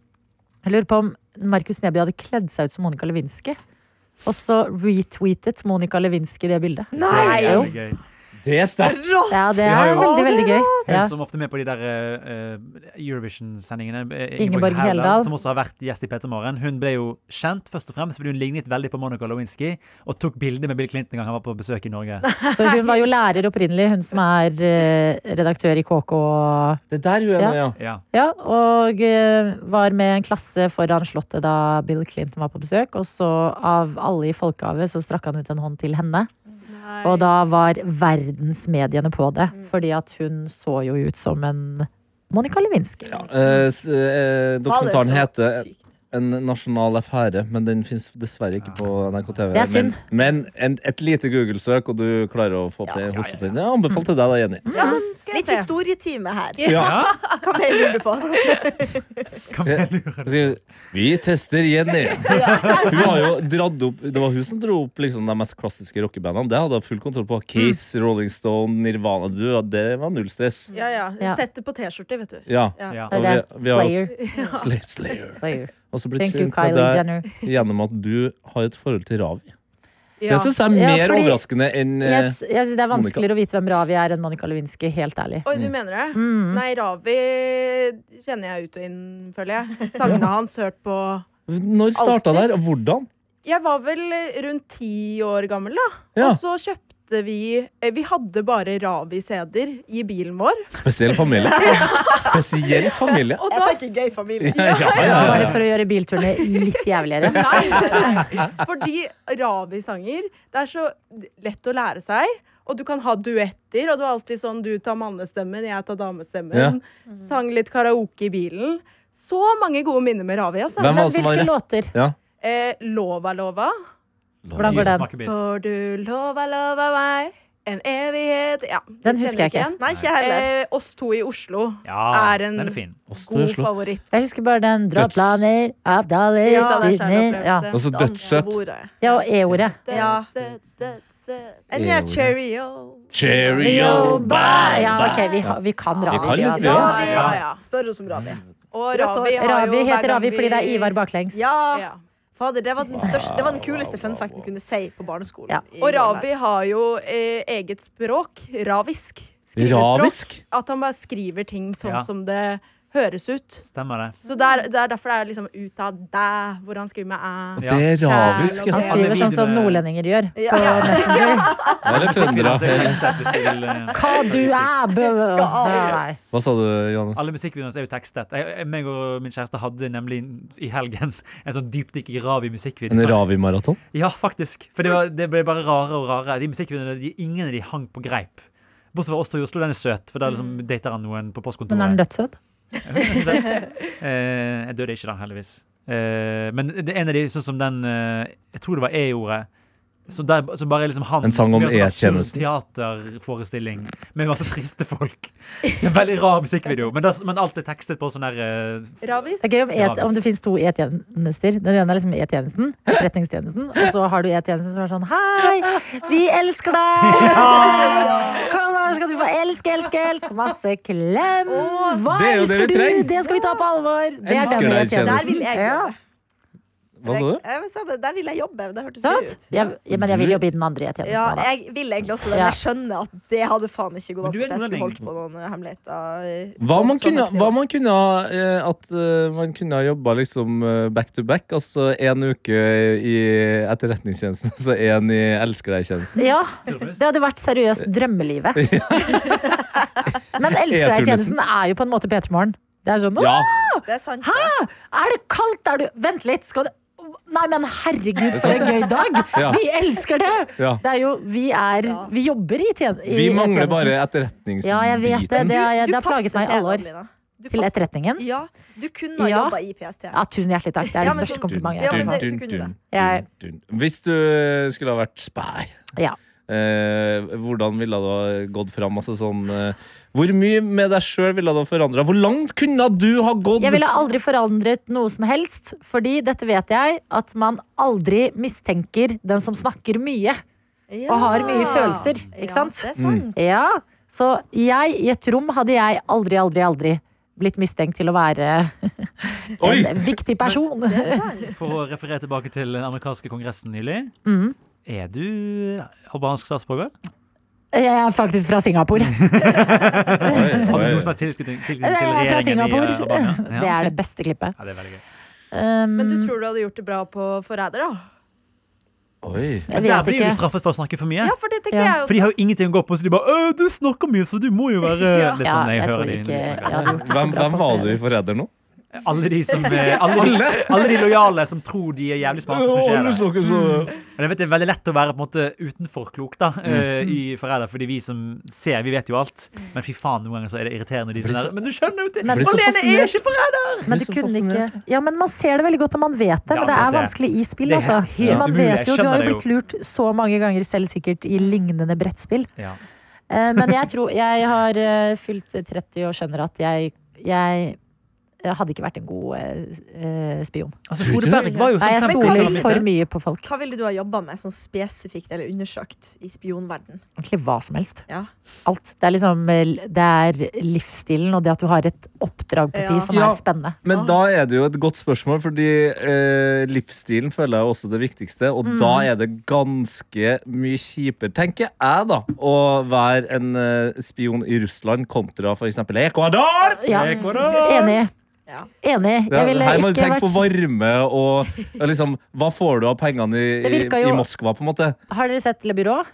Speaker 6: jeg lurer på om Markus Neby hadde kledd seg ut som Monica Lewinsky. Og så retweetet Monica Lewinsky det bildet.
Speaker 3: Nei!
Speaker 4: Det er
Speaker 6: jo.
Speaker 4: veldig gøy.
Speaker 2: Det er sterkt!
Speaker 3: Rått!
Speaker 6: Ja, det
Speaker 4: Vi har
Speaker 6: er
Speaker 4: jo-
Speaker 6: veldig,
Speaker 3: Å,
Speaker 6: veldig
Speaker 3: det er
Speaker 6: gøy.
Speaker 4: Hun
Speaker 6: Ja.
Speaker 4: som ofte er med på de der eh, eh, Eurovision-sendingene. eh,
Speaker 6: Ingeborg Heldal.
Speaker 4: Som også har vært gjest i Peter Morgen. Hun ble jo kjent først og fremst fordi hun lignet veldig på Monica Lewinsky og tok bilde med Bill Clinton en gang han var på besøk i Norge.
Speaker 6: Så hun var jo lærer opprinnelig, hun som er eh, redaktør i KK.
Speaker 2: Det er der hun er
Speaker 6: Ja.
Speaker 2: nå, ja.
Speaker 4: Ja.
Speaker 6: Ja, og eh, var med en klasse foran Slottet da Bill Clinton var på besøk. Og så av alle i folkehavet så strakk han ut en hånd til henne.
Speaker 5: Nei. Mm.
Speaker 6: Og da var verdensmediene på det, fordi at hun så jo ut som en Monica Lewinsky.
Speaker 2: ja. eh, s- eh, dokumentaren
Speaker 3: Fader, så
Speaker 2: heter
Speaker 3: sykt.
Speaker 2: En nasjonal affære, men den fins dessverre ikke på NRK TV.
Speaker 6: Det er synd.
Speaker 2: Men, men en, et lite Google-søk, og du klarer å få opp det hos den. Jeg anbefaler til deg da, Jenny.
Speaker 3: Mm.
Speaker 5: Ja, men skal
Speaker 3: Litt
Speaker 5: jeg se.
Speaker 3: historietime her.
Speaker 2: Ja.
Speaker 3: Hva mer lurer du på?
Speaker 4: Kan vi lure
Speaker 2: Jeg sier, Vi tester Jenny. Hun har jo dratt opp Det var hun som dro opp liksom, de mest klassiske rockebandene. Det hadde hun full kontroll på. Kiss, Rolling Stone, Nirvana. Du, ja, det var null stress.
Speaker 5: Ja,
Speaker 6: Ja.
Speaker 5: ja. Sett det på T-skjorte, vet du.
Speaker 2: Ja.
Speaker 5: Ja.
Speaker 4: Ja.
Speaker 2: Og vi,
Speaker 6: Det er
Speaker 2: vi har
Speaker 6: Slayer.
Speaker 2: s- Slay- Slayer.
Speaker 6: Slayer.
Speaker 2: Og så (laughs) blitt
Speaker 6: Thank you,
Speaker 2: kjent med
Speaker 6: Kylie
Speaker 2: deg
Speaker 6: Jenner.
Speaker 2: gjennom at du har et forhold til Ravi.
Speaker 5: Ja.
Speaker 2: Det syns jeg er
Speaker 6: Ja,
Speaker 2: mer
Speaker 6: fordi-
Speaker 2: overraskende enn eh,
Speaker 6: Jeg, s- jeg syns det er
Speaker 2: Monica.
Speaker 6: vanskeligere å vite hvem Ravi er enn Monica Lewinsky, helt ærlig.
Speaker 5: Oi, du mener det?
Speaker 6: Mm.
Speaker 5: Nei, Ravi kjenner jeg ut og inn, føler jeg. Sangene hans hørt på
Speaker 2: Når starta det her, og hvordan?
Speaker 5: Jeg var vel rundt ti år gammel, da.
Speaker 2: Ja.
Speaker 5: Og så kjøpte vi eh, Vi hadde bare Ravi-CD-er i bilen vår.
Speaker 2: Spesiell
Speaker 6: (laughs)
Speaker 2: familie. Spesiell familie.
Speaker 5: Og
Speaker 3: Jeg
Speaker 5: da
Speaker 3: tenker gøy familie.
Speaker 2: Ja, ja, ja, ja.
Speaker 6: Bare for å gjøre bilturene litt
Speaker 2: (laughs)
Speaker 6: jævligere.
Speaker 5: Fordi Ravi-sanger Det er så lett å lære seg. Og du kan ha duetter, og det var alltid sånn du tar mannestemmen, jeg tar damestemmen.
Speaker 2: Ja.
Speaker 5: Sang litt karaoke i bilen. Så mange gode minner med Ravi. Altså.
Speaker 2: Hvem
Speaker 6: Men
Speaker 2: var det som var
Speaker 6: hvilke
Speaker 2: rett?
Speaker 6: låter?
Speaker 2: Ja.
Speaker 5: Eh, lova, lova.
Speaker 6: Hvordan går den?
Speaker 4: smakebit.
Speaker 5: For du lova, lova meg. en evighet Ja,
Speaker 6: Den
Speaker 5: du
Speaker 6: husker
Speaker 5: kjenner
Speaker 6: jeg ikke.
Speaker 5: igjen.
Speaker 3: Nei, ikke jeg heller.
Speaker 5: Eh, oss to i Oslo
Speaker 4: Ja,
Speaker 5: er en
Speaker 4: den er fin.
Speaker 2: Oss to i
Speaker 5: god
Speaker 2: Oslo.
Speaker 5: favoritt.
Speaker 6: Jeg husker bare den. Dra
Speaker 2: Døds.
Speaker 6: planer, avdaler,
Speaker 5: Ut av den
Speaker 6: stivner. Ja.
Speaker 5: skjærene-opplevelse.
Speaker 2: Og så dødssøt.
Speaker 6: ja, og E-ordet.
Speaker 3: Ja.
Speaker 5: Søt, søt, søt.
Speaker 3: En ja, cheerio.
Speaker 2: Cheerio, bye,
Speaker 6: Ja,
Speaker 2: bye.
Speaker 6: ok, vi, har- vi kan Ravi.
Speaker 2: kan litt, vi
Speaker 6: altså.
Speaker 2: også.
Speaker 5: Ja, ja, ja.
Speaker 3: Spør oss om Ravi.
Speaker 5: Og
Speaker 3: Rødt hår.
Speaker 5: Ravi, har jo
Speaker 6: Ravi
Speaker 5: hver
Speaker 6: heter
Speaker 5: gang
Speaker 6: Ravi
Speaker 5: vi-
Speaker 6: fordi det er Ivar baklengs.
Speaker 3: Ja,
Speaker 5: Ja.
Speaker 3: fader, det var den, største, det var den kuleste fun facten du kunne si på barneskolen.
Speaker 6: Ja.
Speaker 3: i
Speaker 5: Og
Speaker 3: går
Speaker 5: Ravi
Speaker 3: der.
Speaker 5: har jo eh, eget språk. Ravisk.
Speaker 2: Ravisk?
Speaker 5: At han bare skriver ting sånn
Speaker 4: Ja.
Speaker 5: som det høres ut.
Speaker 4: Stemmer det.
Speaker 5: Så det er, det er derfor det er liksom ut av deg, hvor han skriver med æ.
Speaker 2: Det er ravisk.
Speaker 6: Han
Speaker 2: Ja.
Speaker 6: skriver sånn som nordlendinger gjør.
Speaker 3: Ja.
Speaker 2: Eller
Speaker 4: (laughs) Musikkvideoer
Speaker 2: trøndere.
Speaker 4: er jo tekstet, hvis du vil, eh,
Speaker 6: Hva du er, bø... (laughs) Nei.
Speaker 2: Hva sa du, Johannes?
Speaker 4: Alle musikkvideoene er jo tekstet. Jeg, jeg meg og min kjæreste hadde nemlig i helgen en sånn dypdykk i Ravi
Speaker 2: En
Speaker 4: musikkvideo.
Speaker 2: Ravi-maraton?
Speaker 4: Ja, faktisk. For det, var, det ble bare rarere og rarere. De musikkvideoene, de, ingen av de hang på greip. Bortsett fra oss to i Oslo, den er søt, for der liksom dater han noen på
Speaker 6: Men er
Speaker 4: (laughs)
Speaker 6: den
Speaker 4: postkontoret.
Speaker 6: dødssøt?
Speaker 4: Eh, jeg døde ikke da, heldigvis. Eh, men det er en av de, sånn som den eh, Jeg tror det var E-ordet. Så, der, så bare liksom han
Speaker 2: En sang
Speaker 4: som
Speaker 2: om
Speaker 4: gjør en sånn absurd
Speaker 2: E-tjenesten.
Speaker 4: Teaterforestilling med masse triste folk. (laughs) En veldig rar musikkvideo. Men, det, men alt er tekstet på sånn der eh,
Speaker 5: Ravisk.
Speaker 6: Det er gøy om,
Speaker 4: Ja,
Speaker 6: et, om det finnes to E-tjenester. Den ene er liksom E-tjenesten, forretningstjenesten. Og så har du E-tjenesten som er sånn Hei, vi elsker deg! Kom her, så skal du få elske, elske, elske. Masse klem. Hva
Speaker 2: Det er jo det vi
Speaker 6: elsker du?
Speaker 2: trenger.
Speaker 6: Det skal vi ta på alvor. Det er
Speaker 2: Elsker
Speaker 6: den
Speaker 2: deg,
Speaker 3: Der
Speaker 6: E-tjenesten.
Speaker 3: vil jeg
Speaker 6: Ja.
Speaker 3: jobbe.
Speaker 2: Hva sa du?
Speaker 3: Jeg- jeg sa bare, Der vil jeg jobbe. Det hørtes gøy
Speaker 6: Sant?
Speaker 3: ut.
Speaker 6: Jeg, ja, men jeg vil jobbe i den andre
Speaker 3: Ja,
Speaker 6: E-tjenesten. da.
Speaker 3: jeg vil egentlig også det, men
Speaker 6: Ja.
Speaker 3: jeg skjønner at det hadde faen ikke gått
Speaker 4: Men
Speaker 3: an
Speaker 4: du
Speaker 3: at jeg
Speaker 4: er
Speaker 3: skulle
Speaker 4: nordlending.
Speaker 3: holdt på noen eh, hemmeligheter. eh,
Speaker 2: Hva om man
Speaker 3: sånn
Speaker 2: kunne,
Speaker 3: aktivt.
Speaker 2: hva om man kunne ha, eh, at eh, man kunne ha jobba liksom eh, back to back? Altså en uke i etterretningstjenesten, (laughs) så en i elsker deg-tjenesten.
Speaker 6: Ja,
Speaker 4: Turnes.
Speaker 6: det hadde vært seriøst
Speaker 2: (laughs)
Speaker 6: drømmelivet. Men elsker deg-tjenesten er jo på en måte P3 Morgen. Det er sånn
Speaker 2: Ja,
Speaker 3: Det er sant. det.
Speaker 6: Er det kaldt? Er du Vent litt! Skal du Nei, men herregud, for en gøy dag!
Speaker 2: Ja.
Speaker 6: Vi elsker det!
Speaker 2: ja.
Speaker 6: Det er jo Vi er
Speaker 3: Ja.
Speaker 6: Vi jobber i tjen... i
Speaker 2: Vi mangler
Speaker 6: tjenesten.
Speaker 2: bare
Speaker 6: Ja, jeg vet det.
Speaker 2: etterretningsbiten.
Speaker 6: Det har, jeg,
Speaker 3: Du
Speaker 6: det har
Speaker 3: passer
Speaker 6: plaget meg i alle
Speaker 3: til,
Speaker 6: år.
Speaker 3: Adelina. Du
Speaker 6: Til
Speaker 3: passer-
Speaker 6: etterretningen?
Speaker 3: Ja, du kunne ha
Speaker 6: Ja.
Speaker 3: jobba i PST.
Speaker 6: Ja, tusen hjertelig takk. Det er
Speaker 3: Ja, men
Speaker 6: det største
Speaker 3: sånn- Ja,
Speaker 6: komplimentet jeg
Speaker 3: men
Speaker 6: har fått.
Speaker 3: det- du kunne det.
Speaker 6: Jeg-
Speaker 2: dun, dun. Hvis du eh, skulle ha vært spær,
Speaker 6: Ja.
Speaker 2: eh, hvordan ville det ha gått fram? Altså sånn, eh, hvor mye med deg sjøl ville det ha forandra? Hvor langt kunne du ha gått?
Speaker 6: Jeg ville aldri forandret noe som helst, fordi dette vet jeg, at man aldri mistenker den som snakker mye
Speaker 3: Ja.
Speaker 6: og har mye følelser.
Speaker 3: Ja,
Speaker 6: Ikke sant? Mm.
Speaker 3: Det er sant.
Speaker 6: Ja, så jeg i et rom hadde jeg aldri, aldri, aldri blitt mistenkt til å være
Speaker 4: (laughs)
Speaker 2: Oi!
Speaker 6: en viktig person.
Speaker 3: Det er sant.
Speaker 4: For å referere tilbake til den amerikanske kongressen nylig.
Speaker 6: Mhm.
Speaker 4: Er du albansk statsborger?
Speaker 6: Jeg er faktisk fra Singapore.
Speaker 4: Har
Speaker 2: Oi,
Speaker 4: du noe
Speaker 2: oi.
Speaker 4: som er tilknytning Mm. til
Speaker 6: Jeg er fra
Speaker 4: regjeringen i
Speaker 6: Singapore.
Speaker 4: eh, Albania?
Speaker 6: (laughs) Det er det beste klippet.
Speaker 4: Ja, det er veldig gøy.
Speaker 6: Um,
Speaker 5: Men du tror du hadde gjort det bra på Forræder, da?
Speaker 2: Oi.
Speaker 6: Um, jeg
Speaker 4: Der
Speaker 6: vet
Speaker 4: blir
Speaker 6: ikke.
Speaker 4: du straffet for å snakke for mye.
Speaker 5: Ja, for det tenker
Speaker 6: Ja.
Speaker 5: jeg
Speaker 4: For
Speaker 5: også.
Speaker 4: de har jo ingenting å gå på, så de bare «Øh, 'Du snakker mye, så du må jo være
Speaker 5: Ja.
Speaker 4: Det er
Speaker 6: Ja,
Speaker 4: sånn jeg,
Speaker 6: jeg tror
Speaker 4: hører de
Speaker 6: ikke
Speaker 4: når de
Speaker 6: jeg
Speaker 4: snakker.
Speaker 6: hadde gjort det så
Speaker 2: Hvem,
Speaker 6: bra
Speaker 2: hvem
Speaker 6: på
Speaker 2: var du
Speaker 6: fredag.
Speaker 2: i Forræder nå?
Speaker 4: Alle de som eh, alle de, alle de lojale som tror de er jævlig smarte, som skjer det.
Speaker 6: Mm.
Speaker 4: Men jeg vet det er veldig lett å være på en måte utenforklok da, eh, i Forræder, fordi vi som ser, vi vet jo alt. Men fy faen, noen ganger så er det irriterende de som
Speaker 2: blir
Speaker 4: er sånn,
Speaker 2: så-
Speaker 4: Men du skjønner jo det!
Speaker 6: Men-
Speaker 2: Blir så
Speaker 4: Malene er
Speaker 2: fascinert.
Speaker 4: ikke forræder!
Speaker 2: Blir
Speaker 6: Men du
Speaker 2: så
Speaker 6: kunne
Speaker 2: fascinert.
Speaker 6: ikke Ja, men man ser det veldig godt når man vet
Speaker 4: Ja,
Speaker 6: det, men det
Speaker 4: men
Speaker 6: er
Speaker 4: det-
Speaker 6: vanskelig i spill,
Speaker 4: det er
Speaker 6: altså.
Speaker 4: helt
Speaker 6: Man
Speaker 4: umulig, jeg
Speaker 6: vet jo, du har
Speaker 4: skjønner
Speaker 6: jo
Speaker 4: det
Speaker 6: blitt lurt så mange ganger selv sikkert i lignende brettspill.
Speaker 4: Ja.
Speaker 6: Eh, Men jeg tror Jeg har eh, fylt 30 og skjønner at jeg, jeg jeg hadde ikke vært en god eh, eh, spion.
Speaker 4: Altså,
Speaker 2: Tror du det?
Speaker 4: Frode Berg var jo
Speaker 6: Nei, jeg
Speaker 3: kan
Speaker 4: sånn
Speaker 6: stoler
Speaker 3: vi-
Speaker 6: for mye på folk.
Speaker 3: Hva ville du ha jobba med sånn spesifikt eller undersøkt i spionverden?
Speaker 6: Egentlig hva som helst.
Speaker 3: Ja.
Speaker 6: Alt. Det er liksom eh, Det er livsstilen og det at du har et oppdrag på
Speaker 3: Ja.
Speaker 6: si som
Speaker 2: Ja.
Speaker 6: er spennende.
Speaker 2: Men da er det jo et godt spørsmål, fordi eh, livsstilen føler jeg er også det viktigste. Og da
Speaker 6: Mm.
Speaker 2: er det ganske mye kjipere, tenker jeg, da, å være en eh, spion i Russland kontra f.eks. Ecuador!
Speaker 6: Ja,
Speaker 4: Ecuador!
Speaker 6: enig.
Speaker 3: Ja.
Speaker 6: Enig.
Speaker 2: Ja,
Speaker 6: Jeg ville
Speaker 2: her må du
Speaker 6: ikke
Speaker 2: tenke på
Speaker 6: vært
Speaker 2: varme og, og liksom Hva får du av pengene i, i,
Speaker 6: Det virka jo-
Speaker 2: i Moskva, på en måte?
Speaker 6: Har dere sett Le Byrå?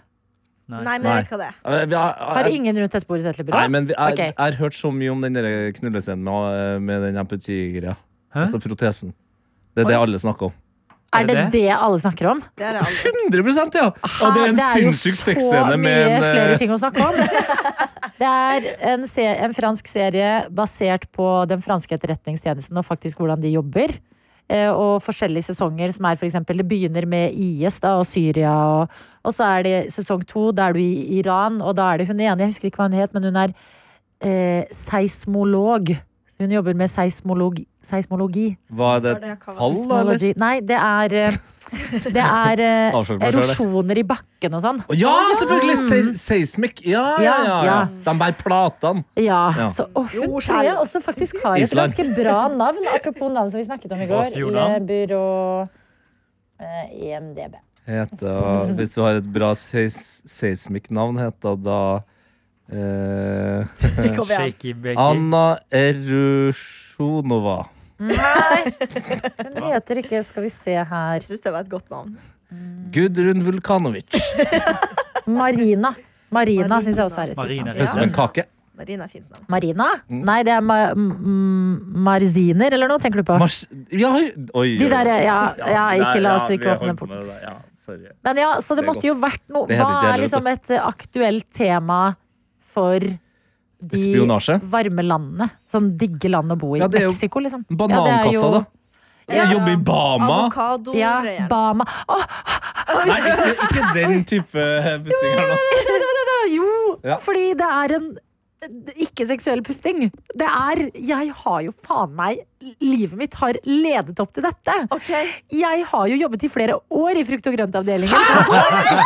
Speaker 3: Nei, men
Speaker 2: Nei.
Speaker 3: jeg vet hva det er.
Speaker 2: Eh, vi har-
Speaker 6: Har ingen rundt dette bordet sett Le Byrå?
Speaker 2: Nei, men vi, jeg,
Speaker 6: Ok.
Speaker 2: jeg har hørt så mye om den der knullescenen med, eh, med den amputee-greia.
Speaker 4: Hæ?
Speaker 2: Altså protesen. Det er det alle snakker om.
Speaker 6: er det det alle snakker om?
Speaker 3: Det er jeg aldri.
Speaker 2: 100 ja!
Speaker 6: Hæ?
Speaker 2: Og det er en sinnssyk sexscene med
Speaker 6: jo så
Speaker 2: en
Speaker 6: mye
Speaker 2: eh,
Speaker 6: flere ting å snakke om.
Speaker 2: (laughs)
Speaker 6: Det er en, se en fransk serie basert på den franske etterretningstjenesten og faktisk hvordan de jobber. eh, og forskjellige sesonger som er for eksempel, Det begynner med IS da, og Syria, og, og så er det sesong to, da er du i Iran, og da er det hun ene, jeg husker ikke hva hun het, men hun er eh, seismolog. Hun jobber med seismologi. seismologi.
Speaker 2: Hva er det?
Speaker 5: Hva er det jeg kaller
Speaker 2: Tall, da? Eller?
Speaker 6: Seismology. Nei, det er eh, Det
Speaker 2: (laughs)
Speaker 6: er eh,
Speaker 2: Avslørt meg selv, det.
Speaker 6: erosjoner i bakken og sånn.
Speaker 2: Å, Ja, selvfølgelig! Se seismic. Ja, Ah! ja, ja. ja.
Speaker 6: Ja,
Speaker 2: De bærer platene.
Speaker 6: Ja,
Speaker 2: Ja.
Speaker 6: Så, og hun
Speaker 5: Jo,
Speaker 6: tror jeg
Speaker 5: skjell.
Speaker 6: også faktisk har et
Speaker 2: Island.
Speaker 6: ganske bra navn. Apropos navn som vi snakket om i
Speaker 4: Hva spør
Speaker 6: går.
Speaker 4: du da?
Speaker 6: Lebyrå eh, EMDB.
Speaker 2: Heta, hvis du har et bra seis seismic-navn, heter da eh,
Speaker 5: Kom igjen.
Speaker 4: Shaky baky.
Speaker 2: Anna Erusjonova.
Speaker 6: Hun heter ikke Skal vi se her
Speaker 5: Jeg syns det var et godt navn.
Speaker 2: Gudrun Vulkanovic.
Speaker 6: Marina. Marina
Speaker 5: Marina.
Speaker 6: syns jeg også er et fint
Speaker 4: Marina
Speaker 6: navn.
Speaker 2: Høres ut som en kake.
Speaker 5: Marina er fint navn.
Speaker 6: Marina? Nei, det er ma m- Marziner eller noe, tenker du på?
Speaker 2: Mars ja, oi, oi.
Speaker 6: De der,
Speaker 2: oi.
Speaker 6: ja, ja, ikke la oss ikke åpne porten. Men ja, så det
Speaker 2: Det er
Speaker 6: måtte jo vært noe
Speaker 2: Det hadde ikke
Speaker 6: Hva
Speaker 2: jeg
Speaker 6: er
Speaker 2: heller,
Speaker 6: liksom et eh, aktuelt tema for de
Speaker 2: Spionasje?
Speaker 6: varme landene? Sånn digge land å bo i.
Speaker 2: Ja, det er jo
Speaker 6: Mexico, liksom.
Speaker 2: Banankassa, da. Jeg jobber i Bama.
Speaker 5: Avokado
Speaker 6: Ja,
Speaker 5: greier.
Speaker 6: Bama. Å,
Speaker 2: Nei, ikke, ikke den type pustinger nå.
Speaker 6: jo!
Speaker 2: Ja.
Speaker 6: Fordi det er en ikke-seksuell pusting. Det er Jeg har jo faen meg Livet mitt har ledet opp til dette. Jeg har jo jobbet i flere år i frukt- og grøntavdelingen.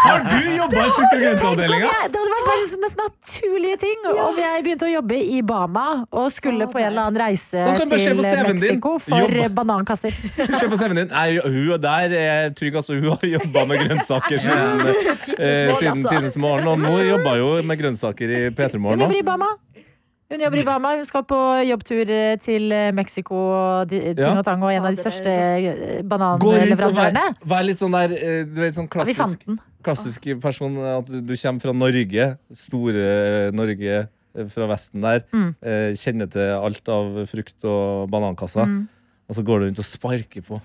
Speaker 2: Har du jobba i frukt- og
Speaker 6: Om
Speaker 2: grøntavdelinga?
Speaker 6: jeg- Det hadde vært verdens mest naturlige ting om jeg begynte å jobbe i Bama og skulle på en eller annen
Speaker 2: Nå kan du bare
Speaker 6: reise
Speaker 2: se
Speaker 6: til
Speaker 2: på CV-en din.
Speaker 6: Mexico for
Speaker 2: Jobb.
Speaker 6: banankasser.
Speaker 2: Se på CV-en din. Nei, hun er der er trygg, altså. Hun har jobba med grønnsaker siden, eh, siden tidens morgen. Og nå jobber hun jo med grønnsaker i P3
Speaker 6: Hun
Speaker 2: Morgen
Speaker 6: jobber
Speaker 2: nå.
Speaker 6: i Bama. Hun jobber i Bama, hun skal på jobbtur eh, til eh, Mexico og de- ting
Speaker 2: Ja.
Speaker 6: og tang og en av de
Speaker 5: Ja, det er
Speaker 6: største
Speaker 5: rått.
Speaker 6: eh,
Speaker 2: Gå rundt og vær,
Speaker 6: bananleverandørene.
Speaker 2: vær litt sånn der eh, Du vet, sånn
Speaker 6: Ja, Vi fant
Speaker 2: klassisk,
Speaker 6: den.
Speaker 2: klassisk person at du, du kommer fra Norge, store Norge eh, fra Vesten der,
Speaker 6: Mm.
Speaker 2: eh, kjenner til alt av frukt og banankasser,
Speaker 6: Mm.
Speaker 2: og så går du rundt og sparker på.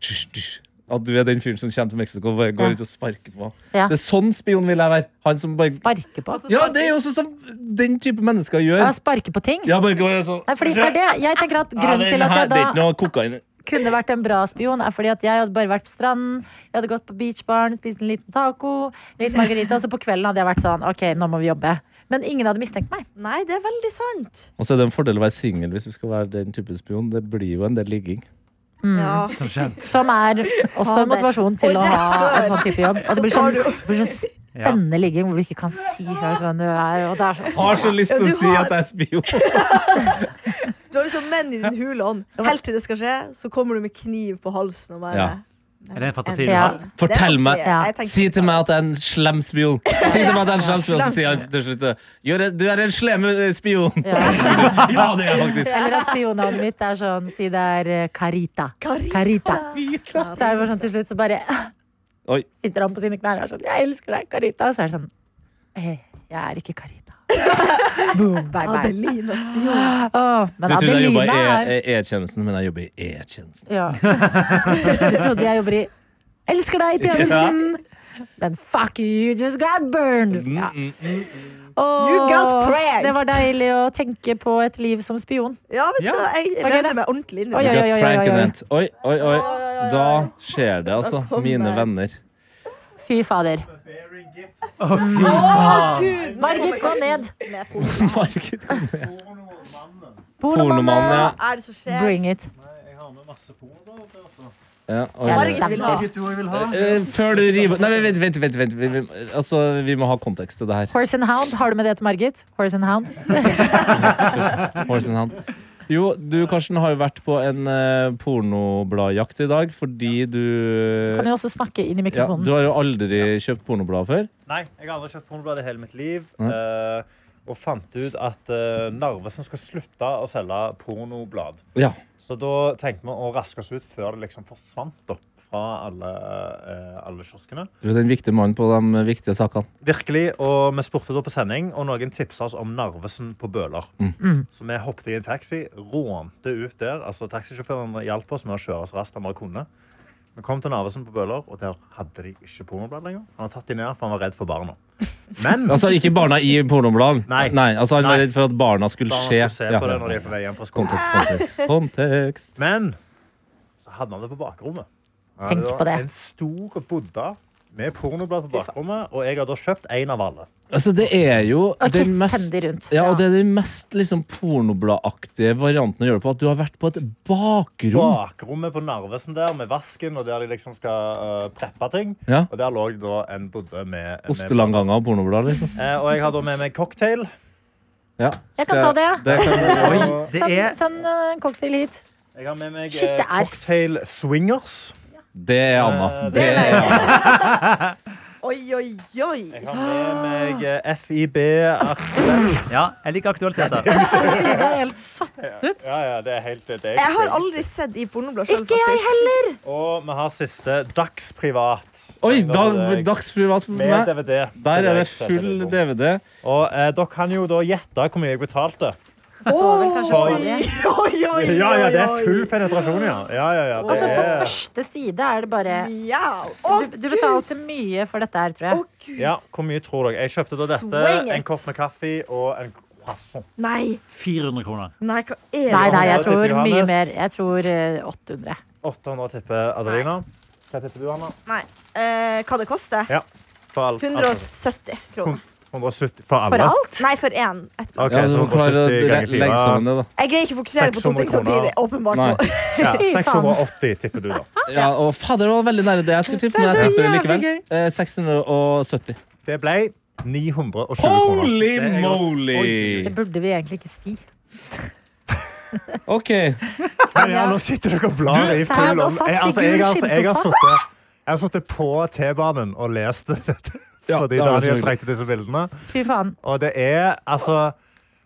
Speaker 2: Tjus, tjus. At du er den fyren som kommer til Mexico og bare går
Speaker 6: Ja.
Speaker 2: rundt og sparker på.
Speaker 6: Ja.
Speaker 2: Det er sånn spion vil jeg være. Han som bare
Speaker 6: Sparke på.
Speaker 2: Ja, det er jo sånn som den type mennesker gjør.
Speaker 6: Ja, sparke på ting.
Speaker 2: Ja, bare går sånn
Speaker 6: Nei, fordi det er det. Jeg tenker at grunnen til at
Speaker 2: her,
Speaker 6: jeg
Speaker 2: Det er ikke
Speaker 6: da
Speaker 2: noe kokain
Speaker 6: kunne vært en bra spion, er fordi at jeg hadde bare vært på stranden, jeg hadde gått på beachbaren, spist en liten taco, litt margarita, og så på kvelden hadde jeg vært sånn, ok, nå må vi jobbe. Men ingen hadde mistenkt meg.
Speaker 5: Nei, det er veldig sant.
Speaker 2: Og så er det en fordel å være singel hvis du skal være den type spion. Det blir jo en del ligging.
Speaker 6: Mm.
Speaker 5: Ja.
Speaker 4: Som kjent.
Speaker 6: Som er også en motivasjon til å ha en sånn type jobb. Og det blir sånn, det blir sånn spennende ligging hvor du ikke kan si helt hvem du er. Og det er sånn,
Speaker 2: Har så lyst til
Speaker 5: Ja,
Speaker 2: å
Speaker 5: du
Speaker 2: si
Speaker 5: har-
Speaker 2: at jeg er spion.
Speaker 5: Du har liksom menn i din hule ånd. Helt til det skal skje, så kommer du med kniv på halsen og bare
Speaker 2: Ja.
Speaker 5: Men
Speaker 4: Er det en fantasi
Speaker 5: en-
Speaker 4: du
Speaker 6: Ja.
Speaker 4: har?
Speaker 5: Det er
Speaker 2: Fortell
Speaker 5: fantasi.
Speaker 2: meg.
Speaker 6: Ja.
Speaker 5: Jeg tenker-
Speaker 2: Si til meg at jeg er en slem spion. Si til meg at jeg er en slem spion, så sier han til slutt «Gjør det- Du er en slem eh, spion.
Speaker 6: ja.
Speaker 2: (laughs) Ja, det er jeg faktisk.
Speaker 6: Eller at spionene mitt er sånn, si det er eh, Carita.
Speaker 5: Carita.
Speaker 6: Carita. Så er det bare sånn til slutt, så bare
Speaker 2: Oi.
Speaker 6: sitter han på sine knær og er sånn, jeg elsker deg, Carita. Og så er det sånn, hei, jeg er ikke
Speaker 5: (laughs)
Speaker 6: Carita. Boom, bye bye.
Speaker 5: Adelina
Speaker 6: (gasps)
Speaker 5: spion.
Speaker 6: Åh, men
Speaker 2: Du trodde jeg jobba
Speaker 6: Adelina er
Speaker 2: i E- E-tjenesten, men jeg jobber i E-tjenesten.
Speaker 6: Ja. Du trodde jeg jobber i Elsker deg i tjenesten! Men fuck you, you just got
Speaker 2: Mm,
Speaker 6: burned! Ja. Åh,
Speaker 5: You got pranked.
Speaker 6: Det var deilig å tenke på et liv som spion.
Speaker 5: Ja, vet du
Speaker 4: Ja.
Speaker 5: hva, jeg
Speaker 6: Ok,
Speaker 5: levde
Speaker 6: det-
Speaker 5: meg ordentlig inn
Speaker 6: Oi,
Speaker 5: i
Speaker 6: oi,
Speaker 5: det.
Speaker 2: Got
Speaker 6: oi, oi,
Speaker 2: prank
Speaker 6: oi.
Speaker 2: event. Oi, oi, oi. Da skjer det, altså.
Speaker 5: kommer-
Speaker 2: Mine (laughs) venner.
Speaker 6: Fy fader.
Speaker 4: Å, fy faen.
Speaker 5: Gud,
Speaker 6: Margit, gå ned!
Speaker 2: Margit kom med.
Speaker 6: Pornomannen.
Speaker 2: Pornomannen, ja.
Speaker 5: Hva er det som skjer?
Speaker 6: Bring it.
Speaker 2: ja oi.
Speaker 6: Ja,
Speaker 5: Margit vil ha.
Speaker 2: Eh, Før du river Nei, vent, vent, vent, vent. Vi, vi, altså, vi må ha kontekst til det her.
Speaker 6: Horse and Hound, har du med det til Margit? Horse and Hound?
Speaker 2: Horse in hand. Jo, du Karsten har jo vært på en eh, pornobladjakt i dag fordi du eh,
Speaker 6: Kan jo også snakke
Speaker 2: ja,
Speaker 6: inn i
Speaker 2: Du
Speaker 6: mikrofonen.
Speaker 2: har jo aldri kjøpt pornoblad før.
Speaker 7: Nei, jeg har aldri kjøpt pornoblad i hele mitt liv.
Speaker 2: Nei.
Speaker 7: eh, og fant ut at uh, Narvesen skal slutte å selge pornoblad.
Speaker 2: Ja.
Speaker 7: Så da tenkte vi å raske oss ut før det liksom forsvant opp fra alle, eh, alle kioskene.
Speaker 2: Du er den viktige mannen på de viktige sakene.
Speaker 7: Virkelig, og Vi spurte da på sending, og noen tipsa oss om Narvesen på Bøler. Så vi hoppet i en taxi, rånte ut der. Altså Taxisjåføren hjalp oss med å kjøre så raskt han bare kunne. Vi kom til Narvesen på Bøler, og der hadde de ikke pornoblad lenger. Han hadde tatt de ned, for han var redd for barna. Men
Speaker 2: Altså, ikke barna i pornobladet.
Speaker 7: Nei.
Speaker 2: altså, han var
Speaker 7: Nei.
Speaker 2: redd for at barna skulle
Speaker 7: barna
Speaker 2: skje.
Speaker 7: skulle se på det når de er på vei hjem fra skolen.
Speaker 2: Kontekst, kontekst, kontekst.
Speaker 7: Men så havna det på bakrommet.
Speaker 6: Tenk på det.
Speaker 7: var En stor bodda med pornoblad på bakrommet, og jeg har da kjøpt en av alle.
Speaker 2: Altså, det er jo
Speaker 6: Ok,
Speaker 2: den
Speaker 6: send
Speaker 2: mest,
Speaker 6: de rundt.
Speaker 2: ja, og det er den mest liksom, pornobladaktige varianten å gjøre det på. At du har vært på et bakrom.
Speaker 7: Bakrommet på Narvesen der med vasken, og der de liksom skal øh, preppe ting.
Speaker 2: Ja.
Speaker 7: Og der lå det da en bodde med med-
Speaker 2: Ostelangganger og pornoblad, liksom.
Speaker 7: Eh, og jeg har da med meg cocktail.
Speaker 2: Ja.
Speaker 6: Jeg kan ta det, ja.
Speaker 2: det kan,
Speaker 4: Oi, det
Speaker 6: Send,
Speaker 4: er
Speaker 6: send eh, en cocktail hit.
Speaker 7: Jeg har med meg
Speaker 6: Shit,
Speaker 7: eh,
Speaker 6: det er s-
Speaker 7: cocktail swingers.
Speaker 2: det er Anna.
Speaker 7: Eh,
Speaker 2: Det
Speaker 7: det
Speaker 2: er Anna.
Speaker 3: Oi, oi, oi.
Speaker 7: Jeg har med meg eh, FIB
Speaker 4: Ja, jeg liker aktualiteter.
Speaker 6: Det er helt satt.
Speaker 7: Ja, ja, det er helt det er
Speaker 3: Jeg har
Speaker 7: helt-
Speaker 3: aldri sett i pornoblad sjøl,
Speaker 6: Ikke jeg
Speaker 3: faktisk.
Speaker 6: heller!
Speaker 7: Og vi har siste Dagsprivat.
Speaker 2: Oi,
Speaker 7: Den
Speaker 2: dag,
Speaker 7: hadde jeg
Speaker 2: dagsprivat for
Speaker 7: Med
Speaker 2: meg.
Speaker 7: DVD.
Speaker 2: Der er det full
Speaker 7: DVD.
Speaker 2: DVD.
Speaker 7: Og eh, dere kan jo da gjette hvor mye jeg betalte.
Speaker 3: Oi, oi, oi,
Speaker 7: Ja, ja, det er
Speaker 3: oi, oi.
Speaker 7: full penetrasjon, ja. ja, ja, ja
Speaker 6: (laughs)
Speaker 7: det
Speaker 6: Altså, på
Speaker 7: er-
Speaker 6: første side er det bare
Speaker 3: Mjau. Å,
Speaker 6: Du, du betalte mye for dette her, tror jeg.
Speaker 3: Å, gud.
Speaker 7: ja, hvor mye tror dere? Jeg kjøpte da dette,
Speaker 3: Swing it.
Speaker 7: en kopp med kaffe og en croissant.
Speaker 3: Nei,
Speaker 4: 400 kroner.
Speaker 3: nei, hva er det?
Speaker 6: Nei, nei,
Speaker 7: Ja,
Speaker 6: jeg
Speaker 7: det tipper
Speaker 6: tror mye
Speaker 7: Johannes.
Speaker 6: mer. Jeg tror eh, 800.
Speaker 7: 800 tipper Adelina. Hva tipper du, Anna?
Speaker 3: Nei. Eh, hva det koster?
Speaker 7: Ja. For alt. altså,
Speaker 3: 170 kroner.
Speaker 7: 170 for alle?
Speaker 6: For alt?
Speaker 3: Nei, for én. Ett barn.
Speaker 7: Ok,
Speaker 2: Ja, du
Speaker 7: så
Speaker 2: må klare å
Speaker 7: 170
Speaker 2: re-
Speaker 7: ganger
Speaker 2: legge sammen det, da.
Speaker 3: Jeg greier ikke å fokusere på to
Speaker 7: 600
Speaker 3: ting samtidig.
Speaker 7: kroner.
Speaker 3: Åpenbart.
Speaker 2: Nei.
Speaker 3: nå.
Speaker 7: Ja,
Speaker 6: (laughs) Fy faen.
Speaker 7: 680 tipper du, da.
Speaker 2: Ja, og fader, det var veldig nære det jeg skulle tippe, men jeg tipper det likevel. Eh, 670.
Speaker 7: Det ble 920 kroner.
Speaker 2: Holy
Speaker 4: Det er godt.
Speaker 2: moly!
Speaker 6: Det burde vi egentlig ikke si.
Speaker 2: OK.
Speaker 7: Men ja, nå sitter dere og blar i
Speaker 6: Du,
Speaker 7: full
Speaker 6: sæd og
Speaker 7: om.
Speaker 6: saft i
Speaker 7: Jeg, altså, jeg,
Speaker 6: gul
Speaker 7: altså, jeg har
Speaker 6: skinnsofa.
Speaker 7: sittet- jeg har sittet på T-banen og lest (laughs) dette.
Speaker 2: Ja,
Speaker 7: Fordi
Speaker 2: det var så
Speaker 7: Daniel
Speaker 2: hyggelig.
Speaker 7: trengte disse bildene.
Speaker 6: Fy faen.
Speaker 7: Og det er altså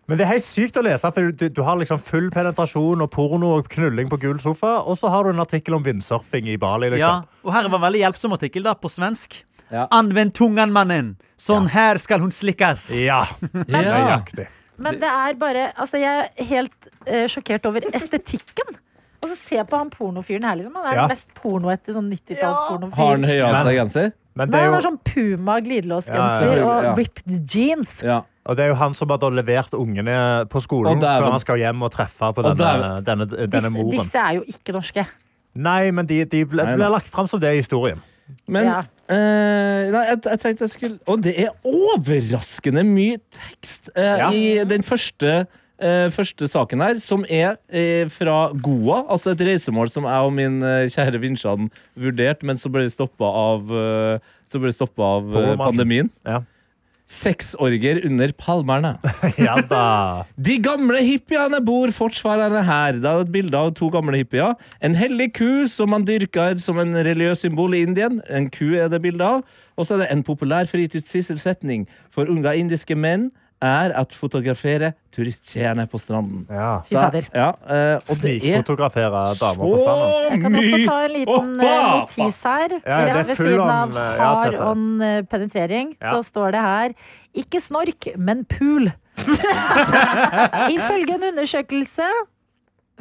Speaker 7: Men det er helt sykt å lese, for du, du har liksom full penetrasjon og porno og knulling på gul sofa, og så har du en artikkel om vindsurfing i Bali,
Speaker 4: Ja,
Speaker 7: liksom.
Speaker 4: og her var en veldig hjelpsom artikkel da, på svensk.
Speaker 2: Ja.
Speaker 4: Anvend tungen, mannen. Sånn her skal hun slikkes.
Speaker 7: Ja,
Speaker 2: Ja.
Speaker 7: nøyaktig.
Speaker 6: Men det er bare Altså, jeg er helt eh, sjokkert over estetikken. Altså, Se på han pornofyren her. liksom Han er
Speaker 7: Ja.
Speaker 6: den mest pornoete sånn 90-tallspornofyr.
Speaker 2: Har han høyhalsa
Speaker 7: Men-
Speaker 2: genser?
Speaker 7: Men det
Speaker 6: Nei,
Speaker 7: er
Speaker 6: han
Speaker 7: jo,
Speaker 6: har sånn puma
Speaker 7: Ja,
Speaker 2: ja,
Speaker 6: glidelåsgenser
Speaker 2: ja.
Speaker 6: og ripped jeans.
Speaker 2: Ja.
Speaker 7: og det er jo han som har da levert ungene på skolen
Speaker 2: Og dæven.
Speaker 7: før han skal hjem og treffe på
Speaker 2: Og
Speaker 7: denne, denne, denne
Speaker 6: Disse,
Speaker 7: moren.
Speaker 6: disse er jo ikke norske.
Speaker 7: Nei, men de, de ble,
Speaker 2: Nei, nei.
Speaker 7: ble lagt fram som det i historien. (laughs)
Speaker 2: Men
Speaker 6: Ja.
Speaker 2: eh, Nei, jeg, jeg tenkte jeg skulle Og det er overraskende mye tekst eh,
Speaker 7: Ja.
Speaker 2: i den første eh, første saken her, som er eh, fra Goa, altså et reisemål som jeg og min eh, kjære Vinsjan vurderte, men så ble det stoppa av, eh, så ble det stoppet av eh,
Speaker 7: Korona.
Speaker 2: pandemien.
Speaker 7: Ja.
Speaker 2: Sexorger under palmerne.
Speaker 7: Ja da.
Speaker 2: De gamle hippiene bor fortfarande her. Det er et bilde av to gamle hippier. En hellig ku som man dyrker som en religiøs symbol i Indien. En ku er det bilde av. Og så er det en populær fritidssysselsetning for unge indiske menn er at fotografere turistkjerner på stranden.
Speaker 7: Ja.
Speaker 6: Fy fader.
Speaker 2: ja, eh, og det er
Speaker 7: Snikfotografere damer på stranden.
Speaker 2: så
Speaker 6: Jeg kan også ta en
Speaker 2: mye å
Speaker 6: liten eh,
Speaker 2: bapa!
Speaker 6: notis her.
Speaker 7: Ja, det er
Speaker 6: Ved
Speaker 7: full
Speaker 6: siden
Speaker 7: on,
Speaker 6: av
Speaker 7: eh, ja,
Speaker 6: hard
Speaker 7: Tete.
Speaker 6: on eh, penetrering,
Speaker 7: Ja.
Speaker 6: så står det her ikke snork, men
Speaker 7: (laughs)
Speaker 6: pul. Ifølge en undersøkelse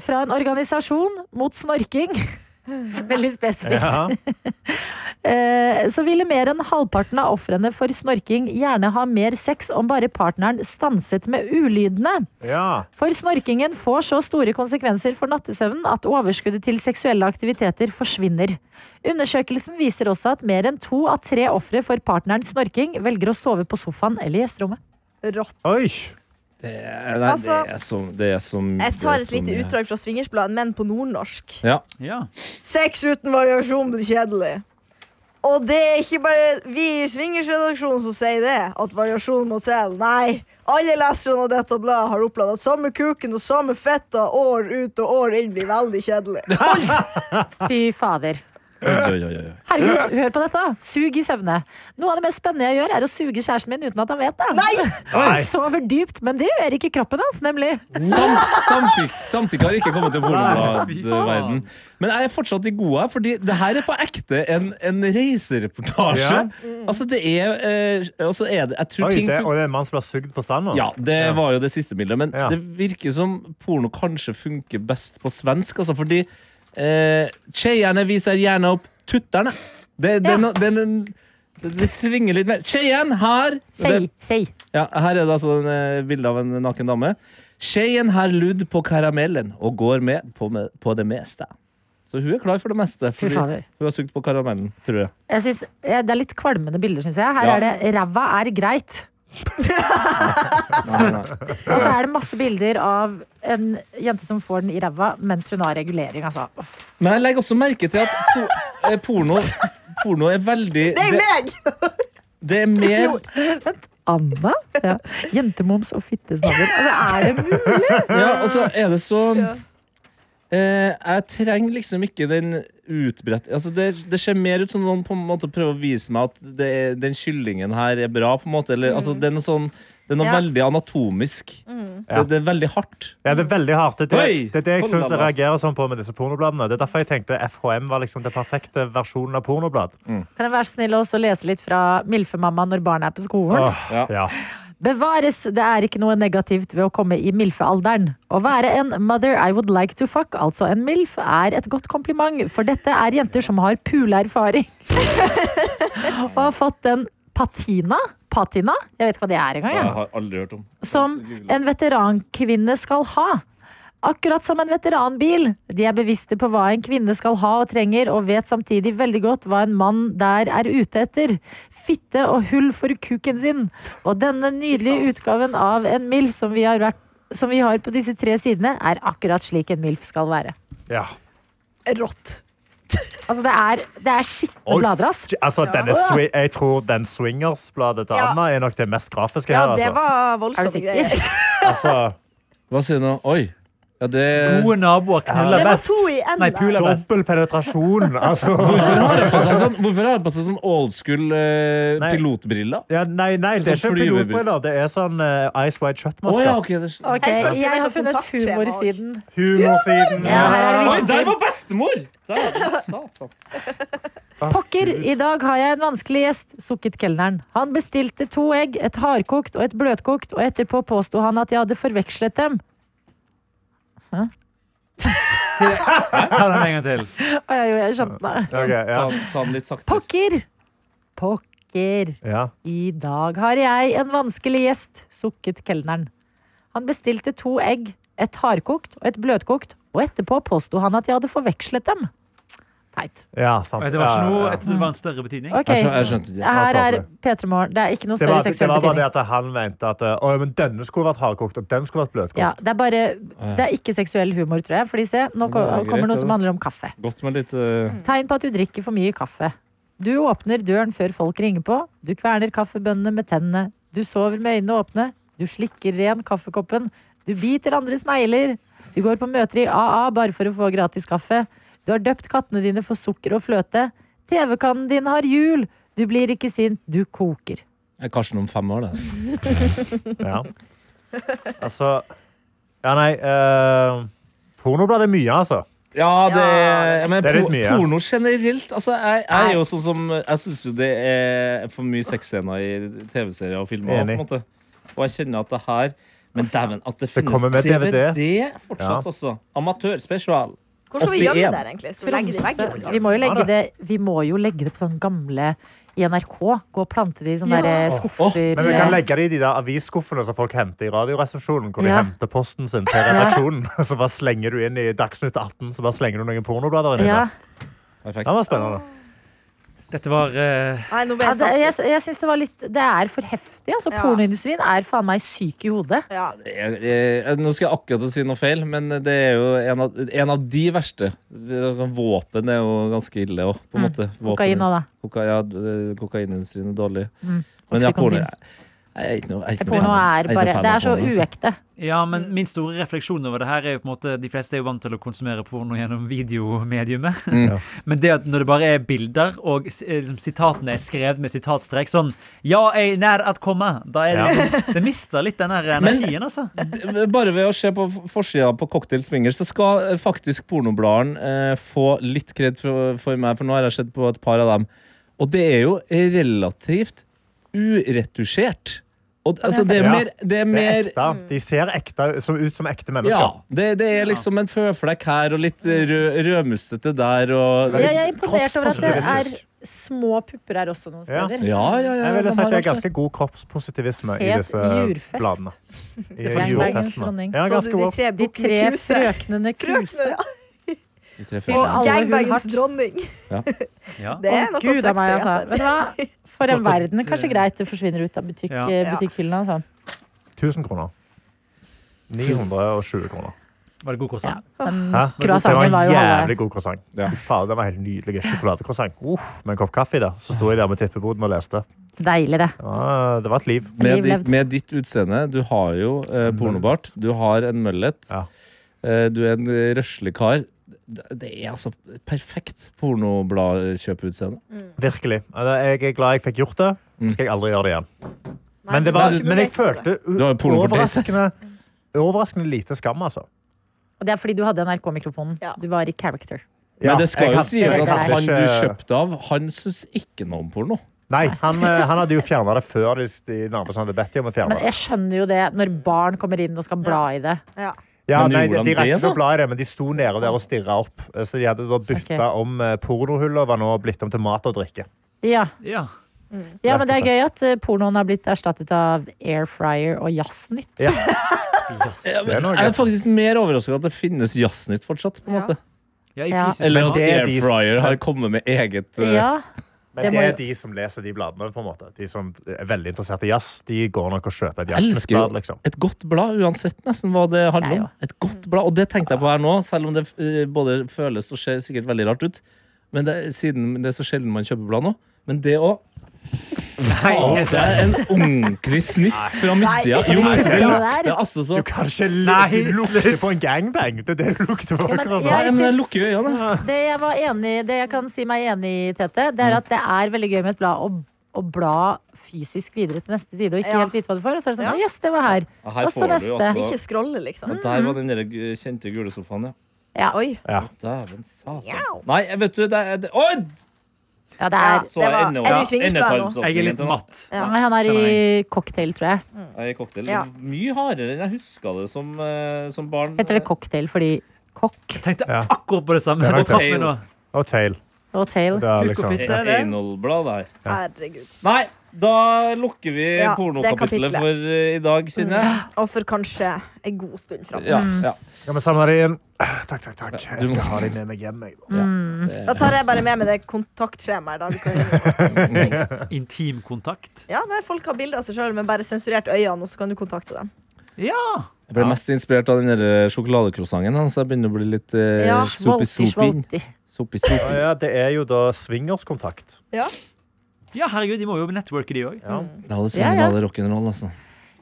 Speaker 6: fra en organisasjon mot snorking (laughs) Veldig spesifikt.
Speaker 7: Ja.
Speaker 6: eh, Så ville mer enn halvparten av ofrene for snorking gjerne ha mer sex om bare partneren stanset med ulydene.
Speaker 7: Ja.
Speaker 6: For snorkingen får så store konsekvenser for nattesøvnen at overskuddet til seksuelle aktiviteter forsvinner. Undersøkelsen viser også at mer enn to av tre ofre for partnerens snorking velger å sove på sofaen eller gjesterommet.
Speaker 3: Rått.
Speaker 7: Oi!
Speaker 2: Det er, Eh, nei, det
Speaker 3: Altså,
Speaker 2: er som, det er som
Speaker 3: Jeg
Speaker 2: det er
Speaker 3: tar et
Speaker 2: som-
Speaker 3: lite utdrag fra Svingersbladet, men på nordnorsk.
Speaker 2: Ja.
Speaker 4: Ja.
Speaker 3: Sex uten variasjon blir kjedelig. Og det er ikke bare vi i Swingers-redaksjonen som sier det, at variasjon må til. Nei. Alle leserne av dette bladet har opplevd at samme kuken og samme fetta år ut og år inn blir veldig kjedelig.
Speaker 6: Fy fader.
Speaker 2: Oi, oi, oi, oi.
Speaker 6: Herregud, hør på dette! da. Sug i søvne. Noe av det mest spennende jeg gjør, er å suge kjæresten min uten at han vet det.
Speaker 3: Nei!
Speaker 7: Nei.
Speaker 6: Han sover dypt, men det gjør ikke kroppen hans, nemlig.
Speaker 2: Sam,
Speaker 7: (laughs)
Speaker 2: samtykke, samtykke har ikke kommet til
Speaker 4: Nei, fy faen.
Speaker 2: pornobladverden. Men jeg er fortsatt i gode her, fordi det her er på ekte en, en reisereportasje.
Speaker 7: Ja.
Speaker 2: Altså, det er, eh, altså er det, Jeg tror
Speaker 7: Oi,
Speaker 2: ting
Speaker 7: det,
Speaker 2: fun-
Speaker 7: og det er en mann som blir sugd på stranda?
Speaker 2: ja, det var jo det siste bildet, men
Speaker 7: Ja.
Speaker 2: det virker som porno kanskje funker best på svensk. Altså, fordi eh, tjeierne viser gjerne opp tutterne. Det, det, er
Speaker 6: Ja.
Speaker 2: no- det, er en- det, det svinger litt mer. Tjeien har
Speaker 6: Sei, sei.
Speaker 2: ja, her er det altså en eh, bilde av en naken dame. Skjeien har ludd på karamellen og går med på, me- på det meste. Så hun er klar for det meste.
Speaker 6: Fy
Speaker 2: Fordi
Speaker 6: fader.
Speaker 2: hun har sugd på karamellen, tror jeg.
Speaker 6: Jeg synes, eh, det er litt kvalmende bilder, syns jeg. Her
Speaker 2: Ja.
Speaker 6: er det 'ræva er greit'.
Speaker 2: Nei, nei.
Speaker 6: (laughs) Og så er det masse bilder av en jente som får den i ræva mens hun har regulering. Altså. Uff.
Speaker 2: Men jeg legger også merke til at po eh, porno, porno er veldig
Speaker 3: Det er
Speaker 2: det,
Speaker 3: meg!
Speaker 2: det er mer
Speaker 6: Anna? Ja. Jentemoms og fittesnabler. Altså, er det mulig?
Speaker 2: Ja, og så er det sånn eh, Jeg trenger liksom ikke den utbredt altså det, det ser mer ut som noen på en måte prøver å vise meg at det er, den kyllingen her er bra, på en måte. Eller, altså, det er noe, sånn, det er noe
Speaker 3: Ja.
Speaker 2: veldig anatomisk.
Speaker 7: Ja.
Speaker 2: Det, det er veldig hardt.
Speaker 7: Ja, det er veldig hardt. Det er det,
Speaker 2: Oi!
Speaker 7: det, er det jeg
Speaker 2: Hold
Speaker 7: synes
Speaker 2: da,
Speaker 7: jeg
Speaker 2: da.
Speaker 7: reagerer sånn på med disse pornobladene. Det er derfor jeg tenkte FHM var liksom den perfekte versjonen av pornoblad.
Speaker 6: Kan jeg være så snill å også lese litt fra Milfemamma når barna er på skolen?
Speaker 7: Åh,
Speaker 2: Ja.
Speaker 7: ja.
Speaker 6: Bevares, det er ikke noe negativt ved å komme i milfealderen. Å være en mother I would like to fuck, altså en milf, er et godt kompliment, for dette er jenter som har puleerfaring. (laughs) og har fått den patina, patina, jeg vet ikke hva det er engang, jeg.
Speaker 2: Jeg har aldri hørt om.
Speaker 6: som en veterankvinne skal ha. Akkurat som en veteranbil. De er bevisste på hva en kvinne skal ha og trenger, og vet samtidig veldig godt hva en mann der er ute etter. Fitte og hull for kuken sin. Og denne nydelige utgaven av en MILF som vi har, vært, som vi har på disse tre sidene, er akkurat slik en MILF skal være.
Speaker 7: ja.
Speaker 3: Rått.
Speaker 6: Altså, det er, det er skitne
Speaker 7: Oi,
Speaker 6: blader, ass.
Speaker 7: f- Altså, denne swi jeg tror den swingers-bladet til
Speaker 3: Ja.
Speaker 7: Anna er nok det mest grafiske
Speaker 3: Ja,
Speaker 7: her.
Speaker 3: det
Speaker 7: Altså.
Speaker 3: var
Speaker 6: Er du
Speaker 3: voldsomme
Speaker 6: sikker?
Speaker 3: (laughs) greier.
Speaker 7: Altså,
Speaker 2: Hva sier du nå? Oi! Ja, det
Speaker 4: Gode naboer knuller
Speaker 3: Det var
Speaker 4: best.
Speaker 3: to i én
Speaker 4: Nei,
Speaker 3: der.
Speaker 4: puler best.
Speaker 7: dobbel penetrasjon. Altså.
Speaker 2: (laughs) Hvorfor har jeg på seg sånn, hvorfor har jeg på seg sånn old school eh,
Speaker 7: Nei.
Speaker 2: pilotbriller?
Speaker 7: Ja, nei, nei, det er
Speaker 2: Sånn
Speaker 7: ikke
Speaker 2: flyvebil.
Speaker 7: pilotbriller. Det er sånn eh, Ice White
Speaker 2: Å
Speaker 7: Shut-masker.
Speaker 2: ja, ok. Det,
Speaker 6: Ok,
Speaker 3: Jeg følte det
Speaker 6: jeg
Speaker 3: var
Speaker 6: har
Speaker 3: sånn
Speaker 6: funnet
Speaker 3: kontaktskjema
Speaker 6: humor i
Speaker 3: også.
Speaker 6: siden.
Speaker 7: Humorsiden.
Speaker 6: Ja, her er det
Speaker 2: Oi, der
Speaker 6: vitser.
Speaker 2: var bestemor! Der, satan.
Speaker 6: Pokker, i dag har jeg en vanskelig gjest, sukket kelneren. Han bestilte to egg, et hardkokt og et bløtkokt, og etterpå påsto han at jeg hadde forvekslet dem.
Speaker 4: Ta den en gang til.
Speaker 6: Å, jeg, jeg skjønte det.
Speaker 7: Ok, ja.
Speaker 2: Ta, ta den litt sakte.
Speaker 6: Pokker! Pokker,
Speaker 7: Ja.
Speaker 6: i dag har jeg en vanskelig gjest, sukket kelneren. Han bestilte to egg, et hardkokt og et bløtkokt, og etterpå påsto han at jeg hadde forvekslet dem. Teit.
Speaker 7: ja, sant.
Speaker 4: Det var ikke noe,
Speaker 7: Ja, ja.
Speaker 4: jeg trodde det var en større betydning.
Speaker 6: Ok,
Speaker 2: Jeg skjønte, jeg skjønte ikke.
Speaker 6: her er
Speaker 7: taper.
Speaker 6: P3 Morgen. Det er ikke noe
Speaker 7: Det
Speaker 6: større
Speaker 7: var, det
Speaker 6: seksuell
Speaker 7: var bare
Speaker 6: betydning.
Speaker 7: det at han mente at eh, «Å, men denne skulle vært hardkokt, og den skulle vært bløtkokt.
Speaker 6: Ja, det er bare Det er ikke seksuell humor, tror jeg. Fordi se, nå ko-
Speaker 2: Det er greit,
Speaker 6: kommer noe
Speaker 2: det,
Speaker 6: som
Speaker 2: da.
Speaker 6: handler om kaffe.
Speaker 2: Godt med litt eh,
Speaker 3: Mm.
Speaker 6: Tegn på at du drikker for mye kaffe. Du åpner døren før folk ringer på. Du kverner kaffebønnene med tennene. Du sover med øynene åpne. Du slikker ren kaffekoppen. Du biter andres negler. Du går på møter i AA bare for å få gratis kaffe. Du har døpt kattene dine for sukker og fløte. TV-kannen din har hjul. Du blir ikke sint, du koker.
Speaker 2: Jeg er Karsten om fem år, det.
Speaker 7: Ja. Altså Ja, nei eh, Pornoblad er mye, altså.
Speaker 2: Ja, det,
Speaker 3: Ja,
Speaker 2: men
Speaker 7: det er litt
Speaker 2: po-
Speaker 7: mye, ja.
Speaker 2: Porno generelt. Altså, jeg, jeg er jo sånn som Jeg syns jo det er for mye sexscener i TV-serier og filmer. På
Speaker 7: Enig.
Speaker 2: en måte. Og jeg kjenner at det her Men dæven, at det finnes
Speaker 7: kommer med DVD. Ja.
Speaker 2: fortsatt, altså. Amatørspesial.
Speaker 3: Hvor skal vi gjemme
Speaker 2: 81?
Speaker 3: det der, egentlig? Skal vi legge det i veggen?
Speaker 6: Vi må jo legge det Vi må jo legge det på sånn gamle i NRK. Gå og plante det i sånne der eh, skuffer.
Speaker 7: Men vi kan legge det i de der avisskuffene som folk henter i Radioresepsjonen. Hvor de
Speaker 6: Ja.
Speaker 7: henter posten sin til redaksjonen. (laughs) Så bare slenger du inn i Dagsnytt 18 Så bare slenger du noen pornoblader inn i
Speaker 6: ja.
Speaker 7: det.
Speaker 2: Perfekt.
Speaker 7: Det var spennende.
Speaker 4: Dette var eh,
Speaker 3: Nei, nå ble
Speaker 6: Ja,
Speaker 3: jeg
Speaker 6: det, Altså, jeg
Speaker 3: satt ut.
Speaker 6: jeg syns det var litt Det er for heftig. Altså,
Speaker 3: sånn- Ja.
Speaker 6: Pornoindustrien er faen meg syk i hodet.
Speaker 3: Ja.
Speaker 2: Jeg, jeg, Eh, nå skal jeg akkurat si noe feil, men det er jo en av, en av de verste. Våpen er jo ganske ille òg, på en måte.
Speaker 6: Mm. Kokain
Speaker 2: Våpen-
Speaker 6: òg, da. Mm.
Speaker 2: Koka, ja, d- eh, kokainindustrien er dårlig.
Speaker 6: Oksykontin.
Speaker 2: Men ja, porno jeg, jeg er ikke noe jeg er ikke noe
Speaker 6: Porno
Speaker 2: fan av-
Speaker 6: er
Speaker 2: jeg ikke noe
Speaker 6: bare
Speaker 2: fan
Speaker 6: Det
Speaker 2: av
Speaker 6: er så
Speaker 2: porno, altså.
Speaker 6: uekte.
Speaker 4: Ja, men min store refleksjon over det her er jo på en måte De fleste er jo vant til å konsumere porno gjennom videomediumet.
Speaker 2: (laughs) Mm.
Speaker 4: Men det at når det bare er bilder, og s- eh, liksom, sitatene er skrevet med sitatstrek sånn Ja, jeg er nær at komme. Da er det liksom Det mister litt den her energien, altså.
Speaker 2: D- Eh, Bare ved å se på f- forsida på Cocktail Swinger, så skal eh, faktisk pornobladene eh, få litt kred for, for meg, for nå har jeg sett på et par av dem. Og det er jo relativt uretusjert. Og, altså, det er
Speaker 7: Ja.
Speaker 2: mer, det er
Speaker 7: Det er
Speaker 2: mer
Speaker 7: ekte. De ser ekte ut som, ut som ekte
Speaker 2: Ja,
Speaker 7: mennesker.
Speaker 2: det, det er liksom en føflekk her og litt eh, rød, rødmustete der og
Speaker 6: Jeg er imponert over at det er
Speaker 7: kroppspositivistisk.
Speaker 6: små pupper her også noen
Speaker 7: Ja.
Speaker 6: steder.
Speaker 2: Ja, ja, ja.
Speaker 7: Jeg
Speaker 2: Eh, de
Speaker 7: ville sagt
Speaker 2: har
Speaker 7: det er
Speaker 2: alt det.
Speaker 7: ganske god kroppspositivisme i
Speaker 6: Het
Speaker 7: disse
Speaker 6: jurfest.
Speaker 7: bladene. I
Speaker 6: Bergens
Speaker 7: jurfestene.
Speaker 6: dronning.
Speaker 7: Ja,
Speaker 3: Så du
Speaker 7: ganske
Speaker 3: de
Speaker 7: god.
Speaker 3: tre
Speaker 6: De
Speaker 3: bukkene
Speaker 6: tre
Speaker 3: Kruse?
Speaker 6: frøknene Kruse.
Speaker 3: Frøkene, ja.
Speaker 2: De tre
Speaker 6: Og
Speaker 2: første.
Speaker 6: alle
Speaker 3: Gangbangens
Speaker 6: hull hardt.
Speaker 3: dronning.
Speaker 4: Ja.
Speaker 3: Det er
Speaker 6: Å,
Speaker 3: noe
Speaker 6: Gud
Speaker 3: sexy
Speaker 6: a meg, altså.
Speaker 3: etter.
Speaker 6: Vet du hva? For en verden.
Speaker 4: Godt,
Speaker 6: Kanskje
Speaker 4: eh,
Speaker 6: greit det forsvinner ut av butikk,
Speaker 4: Ja.
Speaker 6: eh,
Speaker 3: Ja.
Speaker 6: butikkhyllene. Altså.
Speaker 7: 1000 kroner. 920 kroner.
Speaker 4: Var det god kåsa?
Speaker 6: Ja. Men
Speaker 7: Hæ? Men
Speaker 6: croissanten
Speaker 7: det var
Speaker 6: var
Speaker 7: en
Speaker 6: jo halve.
Speaker 7: jævlig god croissant.
Speaker 2: Ja.
Speaker 7: Faen, den var helt nydelig. Sjokoladecroissant. Uff, med en kopp kaffe i det. Så sto jeg der med tippeboden og leste.
Speaker 6: Deilig, det.
Speaker 7: Det var, det var et liv.
Speaker 2: Med
Speaker 6: Liv
Speaker 2: ditt,
Speaker 6: levd.
Speaker 2: med ditt utseende Du har jo eh, pornobart. Du har en møllet.
Speaker 7: Mm. Ja.
Speaker 2: Eh, du er en eh, røslig kar. Det det er altså perfekt pornobladkjøpeutseende.
Speaker 7: Virkelig. Altså, Jeg er glad jeg fikk gjort det.
Speaker 2: Mm.
Speaker 7: Så skal jeg aldri gjøre det igjen.
Speaker 3: Nei,
Speaker 7: Men, det
Speaker 3: var
Speaker 7: var,
Speaker 3: ikke
Speaker 7: men jeg
Speaker 3: berettiget.
Speaker 7: følte u-
Speaker 2: Du har jo porno for deg
Speaker 7: overraskende, overraskende lite skam, altså.
Speaker 6: Og det er fordi du hadde NRK-mikrofonen.
Speaker 3: Ja.
Speaker 6: Du var i character.
Speaker 2: Men det skal
Speaker 7: jeg
Speaker 2: jo
Speaker 7: hadde-
Speaker 2: sies
Speaker 6: jeg
Speaker 2: at
Speaker 6: hadde
Speaker 2: han
Speaker 7: ikke-
Speaker 2: du kjøpte av, han syns ikke noe om porno.
Speaker 7: Nei, han, eh, han hadde jo fjerna det før de, de nærmeste hadde bedt dem om å fjerne
Speaker 6: Men
Speaker 7: det.
Speaker 6: jeg skjønner jo det når barn kommer inn og skal bla i det.
Speaker 7: Ja,
Speaker 2: Men
Speaker 7: nei,
Speaker 2: gjorde
Speaker 7: de
Speaker 2: han
Speaker 7: de
Speaker 2: det,
Speaker 7: rakk ikke
Speaker 2: da?
Speaker 7: å bla i det, men de sto nede der og stirra opp. Eh, Så de hadde da bytta
Speaker 6: Ok.
Speaker 7: om eh, pornohullet og var nå blitt om til mat og drikke.
Speaker 6: Ja,
Speaker 4: Ja.
Speaker 6: ja men det er gøy at eh, pornoen har blitt erstattet av air fryer og jazznytt.
Speaker 7: Ja.
Speaker 2: Jeg er faktisk mer overraska at det finnes Jazznytt fortsatt. på en måte
Speaker 4: ja, i
Speaker 6: Ja.
Speaker 4: fysisk
Speaker 2: Eller at
Speaker 4: format.
Speaker 7: det er
Speaker 2: Air
Speaker 7: de-
Speaker 2: Fryer har kommet med eget eh,
Speaker 6: Ja,
Speaker 7: Men
Speaker 6: Det
Speaker 7: det,
Speaker 6: må
Speaker 7: er
Speaker 6: jo-
Speaker 7: de som leser de bladene, på en måte. De som er veldig interessert i jazz, de går nok og kjøper et
Speaker 2: Jeg elsker
Speaker 7: jazzblad,
Speaker 2: jo
Speaker 7: liksom.
Speaker 2: et godt blad, uansett nesten hva det handler om. Et godt blad, Og det tenkte jeg på her nå, selv om det eh, både føles og ser sikkert veldig rart ut. Men det, siden det er så sjelden man kjøper blad nå. Men det òg.
Speaker 4: Nei,
Speaker 2: Det er en ordentlig sniff fra midtsida.
Speaker 3: Nei.
Speaker 2: Jo, men det
Speaker 6: Nei.
Speaker 2: lukter altså så
Speaker 7: Du kan ikke
Speaker 4: Nei,
Speaker 7: lu- du lukter på en gangbang! Det er det du lukter på.
Speaker 6: Ja, men
Speaker 7: akkurat nå.
Speaker 2: Nei,
Speaker 6: jeg
Speaker 2: men jeg
Speaker 6: syns-
Speaker 2: lukker jo øynene.
Speaker 6: det jeg, var enig, det jeg kan si meg enig i, Tete, det er at det er veldig gøy med et blad å, å bla fysisk videre til neste side og ikke
Speaker 3: Ja.
Speaker 6: helt vite hva du får. Og så er det sånn,
Speaker 3: Ja.
Speaker 6: «Å, jøss, det var her.
Speaker 2: Ja, her
Speaker 6: Og så
Speaker 2: får du
Speaker 6: neste.
Speaker 2: altså-
Speaker 3: Ikke scrolle, liksom.
Speaker 2: Og der var den der eh, kjente gule sofaen, ja.
Speaker 3: Oi.
Speaker 2: Dæven satan. Nei, jeg vet du, det er det- Oi!
Speaker 6: Ja, det er
Speaker 2: Så
Speaker 3: det var-
Speaker 2: ende-
Speaker 3: er du i svingersplan nå?
Speaker 2: endetarmsoppgangen
Speaker 4: jeg er litt
Speaker 2: til nå.
Speaker 4: matt.
Speaker 3: Ja.
Speaker 6: Nei, Han er i
Speaker 4: Skjønner
Speaker 6: cocktail, tror jeg.
Speaker 2: Jeg er i cocktail.
Speaker 3: Ja.
Speaker 2: Mye hardere enn jeg huska det som, eh, som barn.
Speaker 6: Heter det cocktail fordi kokk
Speaker 4: Tenkte
Speaker 7: Ja.
Speaker 4: akkurat på det samme.
Speaker 7: Det er
Speaker 4: Nå
Speaker 7: nok
Speaker 4: traff
Speaker 2: det.
Speaker 4: jeg nå.
Speaker 7: Og tail.
Speaker 6: og tail?
Speaker 7: Det er
Speaker 4: Kuk og
Speaker 7: liksom
Speaker 4: fitte.
Speaker 2: A- Anal-blad der.
Speaker 3: Herregud.
Speaker 2: Nei, da lukker vi
Speaker 3: Ja, det
Speaker 2: pornokapitlet
Speaker 3: kapitlet.
Speaker 2: for eh, i dag, Synne.
Speaker 3: Og for kanskje en god stund fram.
Speaker 2: Ja,
Speaker 6: Mm.
Speaker 2: ja.
Speaker 7: Ja, men samle deg inn. Takk, takk, takk.
Speaker 2: Ja,
Speaker 7: Jeg
Speaker 2: du må-
Speaker 7: skal ha deg med meg hjem, jeg. da.
Speaker 3: Da tar jeg bare med meg det kontaktskjemaet. da. Du kan ringe meg.
Speaker 4: Intimkontakt.
Speaker 3: Ja, Der folk har bilder av seg sjøl, men bare sensurert øynene, og så kan du kontakte dem.
Speaker 4: Ja!
Speaker 2: Jeg ble mest inspirert av den der sjokoladekrosangen, så jeg begynner å bli litt eh,
Speaker 3: Ja.
Speaker 2: sopi
Speaker 6: Svolti,
Speaker 2: sopi.
Speaker 6: svolti.
Speaker 2: Sopi
Speaker 7: Ja,
Speaker 2: sopi.
Speaker 7: ja, det er jo da swingerskontakt.
Speaker 4: Ja, herregud, de må jo networke, de òg.
Speaker 7: Ja.
Speaker 2: Da hadde
Speaker 6: Ja,
Speaker 2: Synne
Speaker 6: ja.
Speaker 2: ja, rock'n'roll, altså.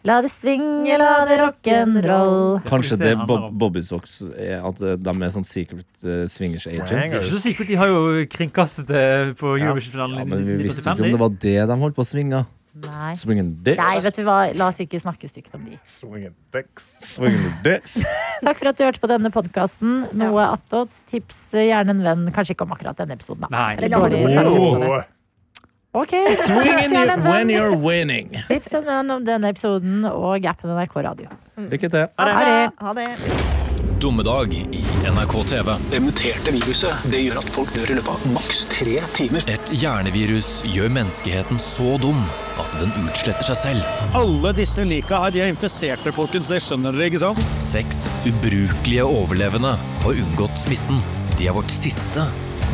Speaker 6: La det svinge, la det rock'n'roll.
Speaker 2: Kanskje det
Speaker 4: handler
Speaker 2: Bob
Speaker 4: om.
Speaker 2: Bobbysocks er at eh, de er sånn secret eh, swingers
Speaker 4: Det
Speaker 2: agents.
Speaker 7: Swingers.
Speaker 4: er ikke så sikkert de har jo kringkastet det på
Speaker 7: Ja.
Speaker 4: Eurovision-finalen
Speaker 2: Ja,
Speaker 4: i
Speaker 2: men vi visste jo ikke om
Speaker 4: 1985.
Speaker 2: det
Speaker 4: de.
Speaker 2: var det de holdt på å svinge.
Speaker 6: Nei.
Speaker 2: Swinging
Speaker 6: Nei,
Speaker 2: dicks.
Speaker 6: vet du hva, la oss ikke snakke stygt om de.
Speaker 7: Swinging dicks.
Speaker 2: Swinging dicks.
Speaker 6: Takk for at du hørte på denne podkasten. Noe attåt. Tips eh, gjerne en venn. Kanskje ikke om akkurat denne episoden, da.
Speaker 4: Nei.
Speaker 6: Eller dårlige
Speaker 3: Den har vi
Speaker 6: snakkepsone.
Speaker 7: Åh.
Speaker 6: Ok, tips
Speaker 2: Swinging
Speaker 6: gjerne en
Speaker 2: when
Speaker 6: venn.
Speaker 2: you're winning.
Speaker 6: Tips en venn om denne episoden og appen NRK Radio.
Speaker 2: Lykke til.
Speaker 3: Ha det.
Speaker 6: det.
Speaker 3: Ha det.
Speaker 1: Dommedag i NRK TV.
Speaker 8: Det muterte viruset det gjør at folk dør i løpet av maks tre timer.
Speaker 1: Et hjernevirus gjør menneskeheten så dum at den utsletter seg selv.
Speaker 9: Alle disse unika her, de er infiserte, folkens. Det skjønner dere, ikke sant?
Speaker 1: Seks ubrukelige overlevende har unngått smitten. De er vårt siste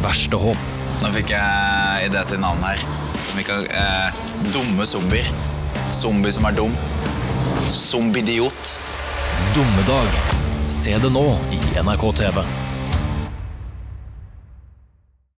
Speaker 1: verste håp.
Speaker 10: Nå fikk jeg idé til navn her. Som vi kan eh, Dumme zombier. Zombie som er dum. Zombidiot.
Speaker 1: Dommedag. Se det nå i NRK TV.